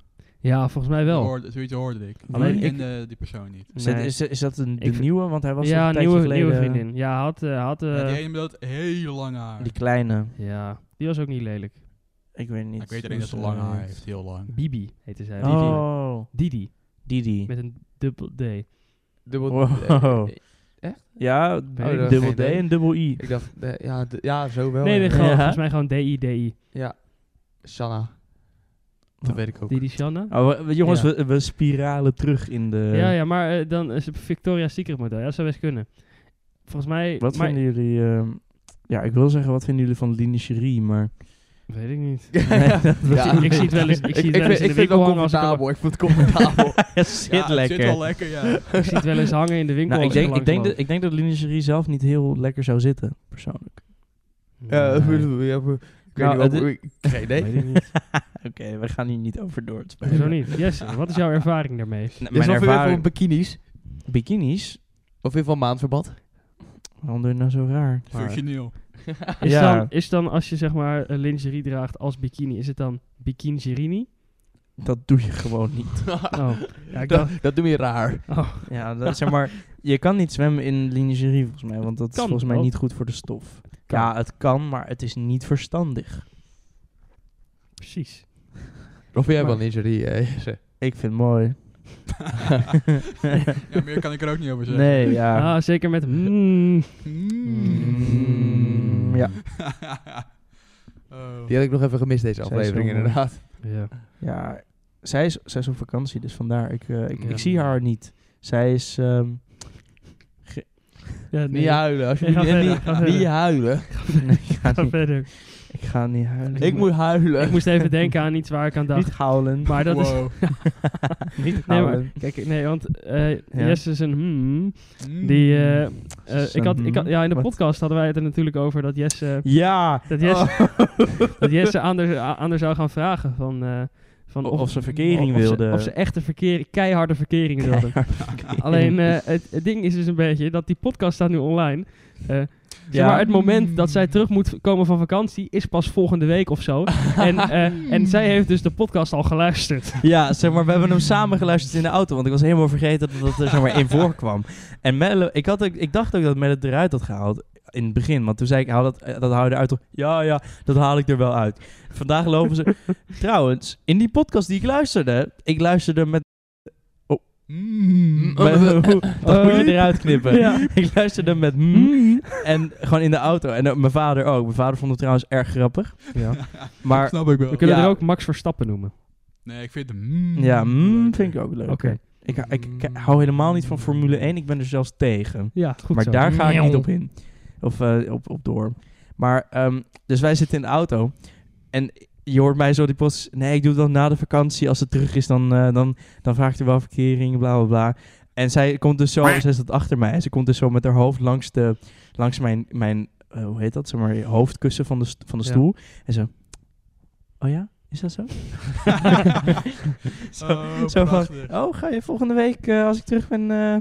B: Ja, volgens mij wel.
D: Hoorde, zoiets hoorde ik.
B: Alleen
D: Alleen ik
B: ik-
D: kende die persoon niet.
A: Is,
B: Nee.
A: dat- is, dat- is dat een, de
B: Ik vind-
A: nieuwe? Want hij was
B: ja,
A: een tijdje
B: nieuwe,
A: geleden...
B: nieuwe vriendin. Ja, hij had... eh, hij had eh,
D: Ja, die ene met dat hele lange haar.
A: Die kleine.
B: ja, die was ook niet lelijk.
A: Ik weet niet.
D: ik weet alleen
A: hoe
D: dat ze lang
B: eh,
D: haar heeft. Heel lang.
B: Bibi heette zij.
A: Oh,
B: Didi.
A: Didi.
B: Met een dubbel D.
C: Dubbel...
A: Wow.
C: eh,
A: Ja,
B: ik
C: nog.
A: dubbel
C: Geen
A: D
C: idee.
A: en E. dubbel I.
C: ik dacht, eh, ja, d- ja, zo wel. eh,
B: Nee, nee,
C: ja.
B: gewoon,
A: Oh, Ja.
B: volgens mij gewoon DI, DI.
C: Shanna. Dat weet ik ook.
B: Didi Shanna.
A: Oh, we- we- jongens,
B: Ja.
A: we, we spiralen terug in de...
B: Ja, ja, maar eh, dan is het Victoria's Secret model. Ja, dat zou best kunnen. Volgens mij...
A: Wat
B: maar,
A: vinden jullie... ehm, ja, ik wil zeggen, wat vinden jullie van lingerie, maar...
B: Weet ik niet.
A: Nee, dat-
B: ik- ik zie het wel eens- ik zie het wel eens in de
C: vind het
B: winkel
C: wel
B: hangen als ik
C: comfortabel. Ik vind het comfortabel.
A: Het zit
D: Ja, het
A: lekker.
D: Zit wel lekker, ja.
B: Ik zie het wel eens hangen in de winkel.
A: nou, ik
B: als ik
A: denk, ik, denk
B: langsloop.
A: dat, ik denk dat lingerie zelf niet heel lekker zou zitten, persoonlijk.
C: Ja, ik
B: Nee.
C: bedoel, ja, ik weet
A: Nou,
C: niet
A: het-
C: waarom- ik- Geen idee.
A: Weet ik niet. Oké, we gaan hier niet over door. het spijt
B: Hoezo
A: me.
B: niet? Yes, wat is jouw ervaring daarmee?
A: Nou,
C: Is
A: mijn
C: dat weer van
A: ervaring...
C: bikinis?
A: Bikinis?
C: Of weer van maandverband?
A: Waarom doe je nou zo raar?
D: Functioneel.
B: Is,
A: Ja.
B: dan, is dan als je zeg maar een lingerie draagt als bikini, is het dan bikini
A: Dat doe je gewoon niet.
B: Oh, ja, ik
C: dat,
B: dacht,
C: dat doe je raar.
B: oh,
A: Ja, dat, zeg maar, je kan niet zwemmen in lingerie volgens mij, want dat is
B: Kan
A: volgens mij
B: wel.
A: niet goed voor de stof.
B: kan.
A: Ja, het kan, maar het is niet verstandig.
B: precies.
C: Of jij wel
B: Maar-
C: lingerie, eh, Jesse?
A: Ik vind het mooi.
D: Ja, meer kan ik er ook niet over zeggen. Hmm?
A: Nee, ja.
B: Ah, zeker met mm,
A: Mm, ja.
D: Oh.
C: Die had ik nog even gemist, deze
A: Zij
C: aflevering,
A: is zo mooi.
C: inderdaad.
B: ja.
A: ja. Zij, is, zij is op vakantie, dus vandaar. Ik, eh, ik,
B: Ja.
A: ik zie haar niet. Zij is... ehm,
B: Ja, nee,
C: Niet huilen, alsjeblieft.
B: Nee, ga
C: niet-
B: verder, ga
C: niet,
B: verder.
C: huilen.
A: nee, ik, ga
B: ga
A: niet,
B: verder.
A: ik ga niet huilen.
C: Ik moet huilen.
B: Ik moest even denken aan iets waar ik aan dacht.
A: Niet huilen.
B: Maar dat is...
D: Wow.
A: niet
B: Nee, maar-
A: huilen.
B: Kijk, nee, want eh
A: Ja.
B: Jesse is een hmm.
D: Mm.
B: Die, eh, eh,
A: Is
B: ik had,
A: een
B: ik had, ja, in de
A: wat?
B: podcast hadden wij het er natuurlijk over dat Jesse,
A: Ja. Oh.
B: dat Jesse, dat Jesse anders, anders zou gaan vragen van... eh, van
A: Of- of ze verkering
B: of ze-
A: wilde.
B: Of ze echte verkering, keiharde verkering wilde. Alleen eh, het, het ding is dus een beetje dat die podcast staat nu online. Eh, zeg
A: Ja.
B: maar het moment
A: Hmm.
B: dat zij terug moet komen van vakantie is pas volgende week of zo. en, eh,
A: Hmm.
B: en zij heeft dus de podcast al geluisterd.
A: Ja, zeg maar, we hebben hem samen geluisterd in de auto, want ik was helemaal vergeten dat dat er zeg maar in voorkwam. En Melle, ik, had ook, ik dacht ook dat Melle het eruit had gehaald in het begin, want toen zei ik, haal dat, eh, dat haal je eruit toch? Ja, ja, dat haal ik er wel uit. Vandaag lopen ze... Trouwens, in die podcast die ik luisterde, ik luisterde met... Oh.
D: Mm.
A: met- dat moet je eruit knippen.
B: Ja.
A: Ik luisterde met... mm, en gewoon in de auto. En eh, mijn vader ook. Mijn vader vond het trouwens erg grappig. Maar
D: Snap ik wel.
B: We kunnen
A: Ja.
B: er ook Max Verstappen noemen.
D: Nee, ik vind de mm
A: ja, mm,
D: leuker.
A: vind ik ook leuk.
B: Oké.
A: Ik, ik, ik hou helemaal niet van Formule 1. Ik ben er zelfs tegen.
B: Ja, goed
A: maar
B: zo.
A: daar ga ik
B: Miauw.
A: niet op in. Of eh, op, op door. Maar, ehm, dus wij zitten in de auto. En je hoort mij zo die post. Nee, ik doe het dan na de vakantie. Als het terug is, dan, eh, dan, dan vraag ik er wel verkering, bla bla bla. En zij komt dus zo, zij zat achter mij. En ze komt dus zo met haar hoofd langs, de, langs mijn, mijn eh, hoe heet dat? Zeg maar, hoofdkussen van de, st- van de
B: Ja.
A: stoel. En zo. Oh ja? Is dat zo? zo,
D: Oh,
A: zo van,
D: prachtig.
A: oh, ga je volgende week eh, als ik terug ben... eh?"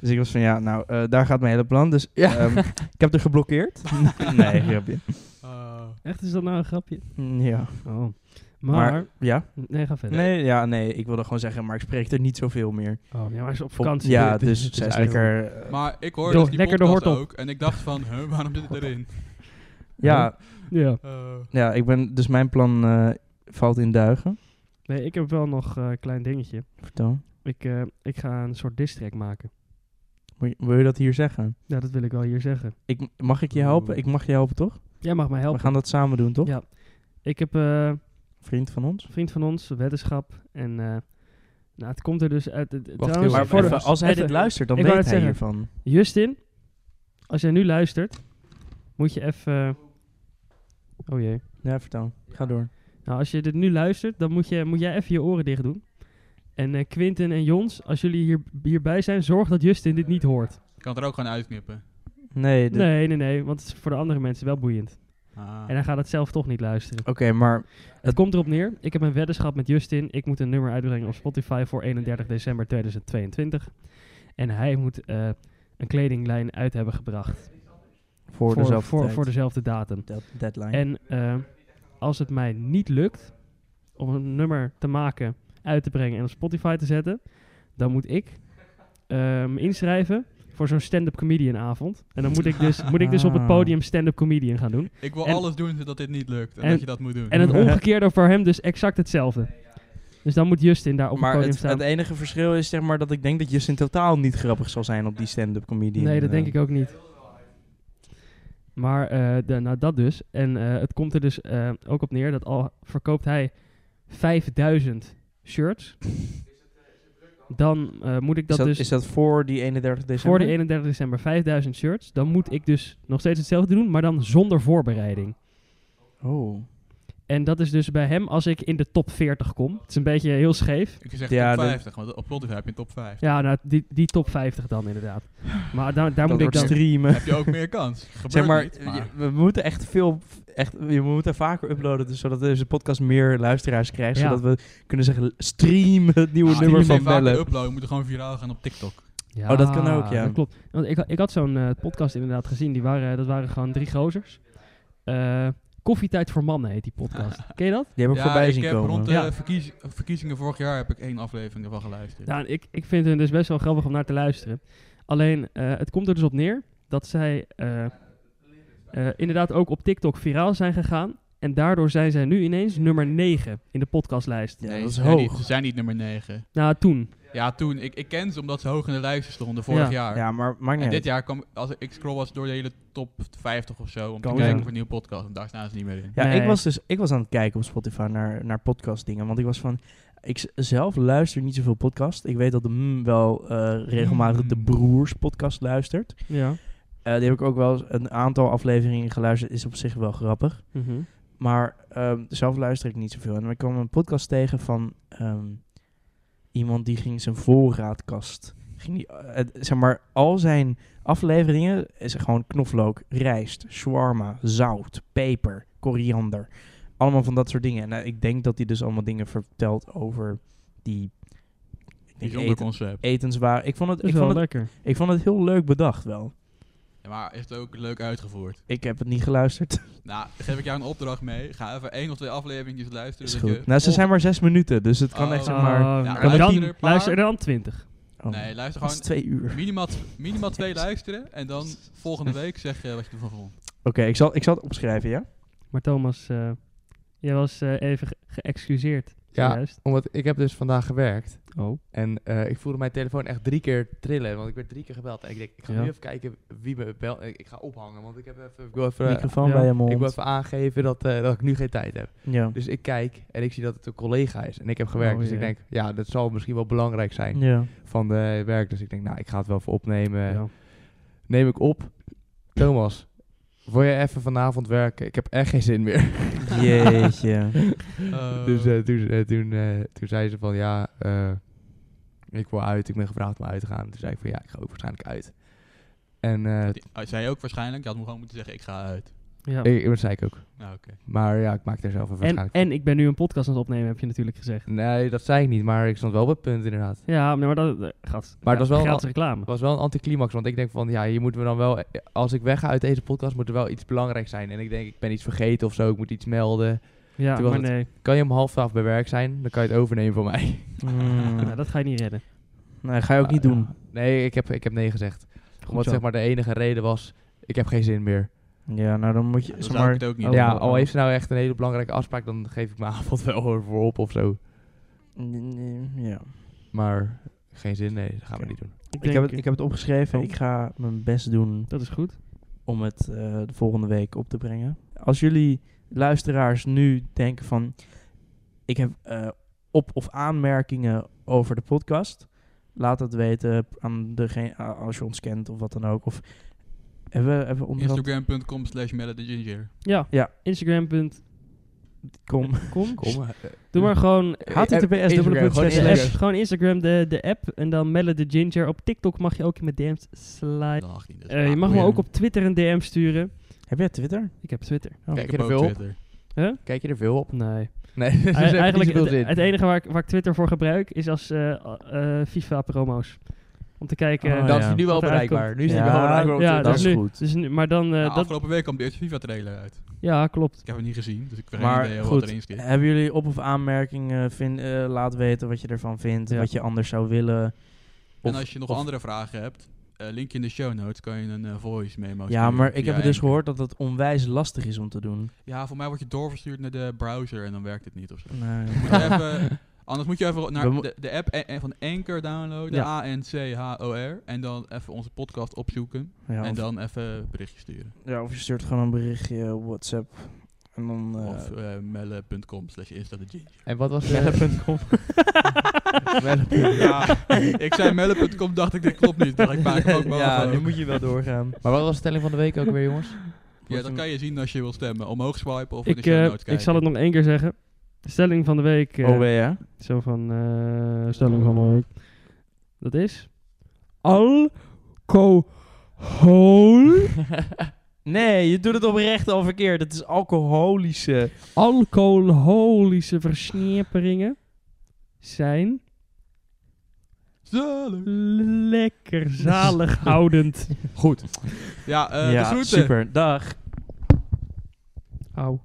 A: Dus ik was van, ja, nou, eh, daar gaat mijn hele plan. Dus
C: Ja.
A: ehm, ik heb er geblokkeerd. nee, grapje.
D: Oh.
B: Echt, is dat nou een grapje?
A: Mm, Ja.
B: Oh. Maar,
A: Maar- Ja?
B: nee, ga verder.
A: Nee, ja, nee, ik wilde gewoon zeggen, maar ik spreek er niet zoveel meer.
B: Oh, ja, maar hij is op
A: Op-
B: vakantie.
A: ja,
C: dit
A: dus
C: is
A: zij is
C: eigenlijk-
A: lekker... eh,
D: Maar ik hoorde
B: Door-
D: dus die
B: lekker de
D: podcast
B: hort op.
D: ook en ik dacht van, huh, waarom zit het erin?
A: ja,
B: Ja.
D: Eh,
A: ja, ik ben... Dus mijn plan eh, valt in duigen.
B: Nee, ik heb wel nog eh, een klein dingetje.
A: Vertel.
B: Ik, eh, ik ga een soort distrack maken.
A: Wil je, wil je dat hier zeggen?
B: Ja, dat wil ik wel hier zeggen.
A: Ik, mag ik je helpen? Ik mag je helpen, toch?
B: Jij mag mij helpen.
A: We gaan dat samen doen, toch?
B: Ja. Ik heb... eh,
A: Vriend van ons.
B: vriend van ons, wetenschap. En eh, nou, het komt er dus uit. het- het-
C: Wacht,
B: trouwens,
C: heel
A: Maar
C: even. voor de-
A: als hij
B: even-
A: dit luistert, dan
B: ik
A: weet
B: wou
A: hij
B: net zeggen.
A: hiervan.
B: Justin, als jij nu luistert, moet je even. eh, oh jee.
A: Ja, vertel. Ga door.
B: Nou, als je dit nu luistert, dan moet, je, moet jij even je oren dicht doen. En eh Quinten en Jons, als jullie hier, hierbij zijn, zorg dat Justin dit niet hoort.
D: ik kan het er ook gewoon uitknippen.
A: Nee, dit-
B: Nee, nee, nee, want het is voor de andere mensen wel boeiend.
D: Ah.
B: En hij gaat het zelf toch niet luisteren.
A: Oké, maar
B: Het komt erop neer. Ik heb een weddenschap met Justin. Ik moet een nummer uitbrengen op Spotify voor 31 december 2022. En hij moet eh, een kledinglijn uit hebben gebracht.
A: voor, dezelfde
B: voor,
A: tijd.
B: voor dezelfde datum.
A: Dat- deadline.
B: En eh, als het mij niet lukt om een nummer te maken, uit te brengen en op Spotify te zetten, dan moet ik eh, me inschrijven voor zo'n stand-up comedian avond. En dan moet ik dus, moet ik dus op het
A: Ah.
B: podium stand-up comedian gaan doen.
D: Ik wil
B: En-
D: alles doen zodat dit niet lukt en,
B: en-
D: dat je dat moet doen.
B: En het omgekeerde voor hem dus exact hetzelfde. Dus dan moet Justin daar op
A: maar
B: het podium
A: het,
B: staan.
A: het enige verschil is zeg maar dat ik denk dat Justin totaal niet grappig zal zijn op die stand-up eh. comedy.
B: nee, dat denk ik ook niet. Maar eh, de, nou dat dus. En eh, het komt er dus eh, ook op neer dat al verkoopt hij 5000 shirts. Dan eh, moet ik
A: Is
B: dat,
A: dat,
B: dus
A: is dat voor die 31 december?
B: voor de 31 december 5000 shirts. Dan moet ik dus nog steeds hetzelfde doen, maar dan zonder voorbereiding.
A: Oh.
B: En dat is dus bij hem als ik in de top 40 kom. Het is een beetje heel scheef.
D: Ik zeg
A: Ja,
D: top
A: dat-
D: 50, want op Spotify heb je een top 5.
B: Ja, nou, die, die top 50 dan inderdaad. Maar daar daar
A: Dat
B: moet ik
A: wordt
B: dan...
A: streamen.
D: Heb je ook meer kans. Gebeurt
A: Zeg maar,
D: niet, maar...
A: je- we moeten echt veel, echt, je moet er vaker uploaden, dus zodat deze podcast meer luisteraars krijgt,
B: Ja.
A: zodat we kunnen zeggen, stream het nieuwe
D: Ah,
A: nummer
D: niet meer
A: van
D: vaker
A: Bellen.
D: uploaden, we moeten gewoon viraal gaan op TikTok.
B: Ja,
A: Oh, dat kan ook, ja.
B: Dat klopt. Want ik, ha- ik had zo'n eh, podcast inderdaad gezien. Die waren, dat waren gewoon drie gozers. Eh, Koffietijd voor mannen heet die podcast. Ken je dat?
A: Die heb ik voorbij
D: ik
A: zien
D: heb
A: komen.
D: rond de
B: Ja.
D: verkies- verkiezingen vorig jaar heb ik één aflevering ervan geluisterd.
B: Nou, ik, ik vind het dus best wel grappig om naar te luisteren. Alleen, eh, het komt er dus op neer dat zij eh, eh, inderdaad ook op TikTok viraal zijn gegaan. En daardoor zijn zij nu ineens nummer 9 in de podcastlijst.
A: Ja, dat is
D: ze zijn niet-
A: hoog.
D: ze zijn niet nummer 9.
B: Nou, toen.
D: Ja, toen. Ik, ik ken ze omdat ze hoog in de lijsten stonden vorig
B: Ja.
D: jaar.
A: Ja, maar maakt
D: En
A: niet
D: dit
A: uit.
D: jaar kwam, als ik- ik scroll was door de hele top 50 of zo,
B: Kan
D: om te kijken
B: zijn.
D: voor een nieuwe podcast. En daar staan ze niet meer in.
A: Ja, ik
B: Nee.
A: was dus ik was aan het kijken op Spotify naar, naar podcast dingen, want ik was van, ik z- zelf luister niet zoveel podcast. Ik weet dat de M wel eh, regelmatig de
D: Mm.
A: Broers podcast luistert.
B: Ja.
A: Eh, die heb ik ook wel eens een aantal afleveringen geluisterd, is op zich wel grappig.
B: Mhm.
A: Maar ehm, zelf luister ik niet zoveel. En ik kwam een podcast tegen van ehm, iemand die ging zijn voorraadkast. Ging die, eh, het- zeg maar, al zijn afleveringen is er gewoon knoflook, rijst, shawarma, zout, peper, koriander. Allemaal van dat soort dingen. En eh, ik denk dat hij dus allemaal dingen vertelt over die. ik denk
D: Bijzonder
A: Eten,
D: concept.
A: etenswaar. Ik vond, het,
B: Dat is
A: ik,
B: wel
A: vond het,
B: lekker.
A: ik vond het heel leuk bedacht wel.
D: Ja, maar is het ook leuk uitgevoerd?
A: Ik heb het niet geluisterd.
D: Nou, dan geef ik jou een opdracht mee. Ga even één of twee afleveringen luisteren.
A: Is
D: dat
A: goed.
D: je-
A: Nou, ze
D: of-
A: zijn maar zes minuten, dus het kan
D: Oh.
A: echt zeg
B: Oh,
A: maar...
B: nou,
D: Ja,
B: maar
D: luister
B: dan,
D: er een paar.
B: luister er dan 20.
A: oh,
D: Nee, luister
A: dat is
D: gewoon
A: twee uur. Oké,
D: minimaal, t- minimaal twee luisteren. En dan volgende week zeg je wat je ervan vond.
A: ik, zal, ik zal het opschrijven, ja?
B: Maar Thomas, eh, jij was eh, even ge- geëxcuseerd.
C: Ja.
B: zojuist.
C: Omdat ik heb dus vandaag gewerkt.
B: Oh.
C: En eh, ik voelde mijn telefoon echt drie keer trillen, want ik werd drie keer gebeld. En ik denk, ik ga
B: Ja.
C: nu even kijken wie me belt. Ik, ik ga ophangen, want ik, heb even, ik wil even...
A: Microfoon
B: ja.
A: bij je mond.
C: ik wil even aangeven dat, eh, dat ik nu geen tijd heb.
A: ja.
C: Dus ik kijk en ik zie dat het een collega is. En ik heb gewerkt,
B: Oh,
C: dus ik
B: jee.
C: denk, ja, dat zal misschien wel belangrijk zijn
A: ja.
C: van de werk. Dus ik denk, nou, ik ga het wel even opnemen.
B: Ja.
C: Neem ik op. Thomas, wil je even vanavond werken? Ik heb echt geen zin meer.
A: Jeetje.
D: Eh,
C: Dus eh, toen, eh, toen, eh, toen zei ze van ja, eh, ik wil uit. Ik ben gevraagd om uit te gaan. Toen zei ik van ja, ik ga ook waarschijnlijk uit. En eh,
D: die- ah, zei je ook waarschijnlijk. Je had me gewoon moeten zeggen, ik ga uit.
B: Ja.
C: ik, dat zei ik ook.
D: Nou, oké.
C: Maar ja, ik maak daar zelf een
B: En,
C: waarschijnlijk.
B: en ik ben nu een podcast aan het opnemen, heb je natuurlijk gezegd.
C: Nee, dat zei ik niet, maar ik stond wel op het punt inderdaad.
B: Ja, nee, maar dat eh, gaat.
C: Maar dat is wel een-
B: gratis reclame.
C: Het was wel een anticlimax, want ik denk van ja, hier moeten we dan wel. eh, Als ik wegga uit deze podcast, moet er wel iets belangrijks zijn. En ik denk, ik ben iets vergeten of zo, ik moet iets melden.
B: Ja,
C: toen was
B: maar nee,
C: Kan je om half twaalf bij werk zijn? Dan kan je het overnemen van mij.
B: Nou, dat ga je niet redden.
A: Hmm. Nee, ga je ook niet
C: Ja,
A: doen.
C: ja. Nee, ik heb, ik heb nee gezegd. Omdat
B: zo.
C: zeg maar de enige reden was, ik heb geen zin meer.
A: Ja, nou dan moet je...
D: Dan
A: zeg
D: zou
A: maar,
D: ik het ook niet
A: Oh,
C: ja,
A: oh,
C: al
A: oh.
C: heeft ze nou echt een hele belangrijke afspraak, dan geef ik mijn avond wel ervoor op of zo.
A: Ja.
C: Maar geen zin, nee, dat gaan we
A: Oké.
C: niet doen.
B: Ik,
A: Ik
B: denk-
A: heb, het, ik heb het opgeschreven.
B: Oh.
A: Ik ga mijn best doen
B: Dat is goed.
A: om het eh, de volgende week op te brengen. Als jullie luisteraars nu denken van... Ik heb eh, op- of aanmerkingen over de podcast. Laat dat weten aan degene, a- als je ons kent of wat dan ook. Of hebben we, hebben we onderhand...
D: Instagram.com slash Melle de Ginger.
B: Ja,
A: Ja.
B: Instagram.com.
A: Kom.
C: Kom, eh,
B: Doe maar gewoon.
A: https dubbele punt
C: Instagram,
A: slash
B: de
C: gewoon
B: app,
A: slash.
C: Instagram.
B: gewoon Instagram, de, de app. En dan Melle de Ginger. Op TikTok mag je ook in mijn DM's sliden.
D: Dat mag niet. dus-
B: Eh, je
D: Ah,
B: mag me
D: boeien.
B: ook op Twitter een DM sturen.
A: Heb jij Twitter?
B: Ik heb Twitter.
C: Kijk
A: Oh,
C: je
D: heb
C: er
D: ook
C: veel op?
D: Twitter.
C: Kijk je er veel op?
B: Nee.
C: Nee, dat
B: Dus
C: is echt
B: eigenlijk
C: niet zoveel
B: het,
C: zin.
B: het enige waar ik, waar ik Twitter voor gebruik is als eh, eh, FIFA-promo's. Om te kijken.
A: Oh,
C: dat
A: ja.
C: is nu wel
B: Wat eruit
C: bereikbaar. Nu is hij
A: Ja,
C: wel bereikbaar op
B: ja,
C: Twitter.
A: dat is
B: nu,
A: goed.
B: Dus nu, maar dan. eh,
D: Nou,
B: dat,
D: afgelopen week kwam de eerste FIFA-trailer uit.
B: Ja, klopt.
D: Ik heb het niet gezien, dus ik heb geen
A: Maar
D: idee wat
A: goed, eh,
D: erin zit.
A: Hebben jullie op- of aanmerkingen? Vind, eh, laat weten wat je ervan vindt.
B: Ja.
A: Wat je anders zou willen.
D: En
A: of-
D: als je nog
A: of-
D: andere vragen hebt, eh, linkje in de show notes, kan je een eh, voice memo
A: Ja,
D: sturen
A: maar
D: via
A: ik heb het dus
D: Anchor.
A: gehoord dat het onwijs lastig is om te doen.
D: Ja, voor mij word je doorverstuurd naar de browser en dan werkt het niet of zo.
A: Nee.
D: Moet je even, anders moet je even
A: We
D: naar
A: mo-
D: de, de app en- en van Anchor downloaden, A-N-C-H-O-R. En dan even onze podcast opzoeken.
A: Ja,
D: en
A: of,
D: dan even berichtje sturen.
A: ja, of je stuurt gewoon een berichtje op WhatsApp. En dan. eh,
D: of eh melle.com slash insta de ginger.
C: En wat was eh, de...
B: Melle.com.
D: Ja, ik zei melle.com, dacht ik, dit klopt niet. Maar ik maak hem ook
A: ja,
D: boven.
A: nu moet je wel doorgaan.
C: Maar wat was de stelling van de week ook weer, jongens?
D: Ja, dat kan je zien als je wil stemmen. Omhoog swipen of in
B: Ik,
D: de show
B: eh,
D: notes kijken.
B: ik zal het nog één keer zeggen. De stelling van de week. eh,
A: Oh, wee, hè?
B: Zo van, eh, stelling van de week. Dat is... Alcohol.
A: Nee, je doet het oprecht al verkeerd. Het is alcoholische.
B: Alcoholische versnipperingen zijn
D: Zalig.
B: lekker zalighoudend.
D: Goed. Ja, eh de
A: ja,
D: groeten.
A: super. Dag.
B: Au.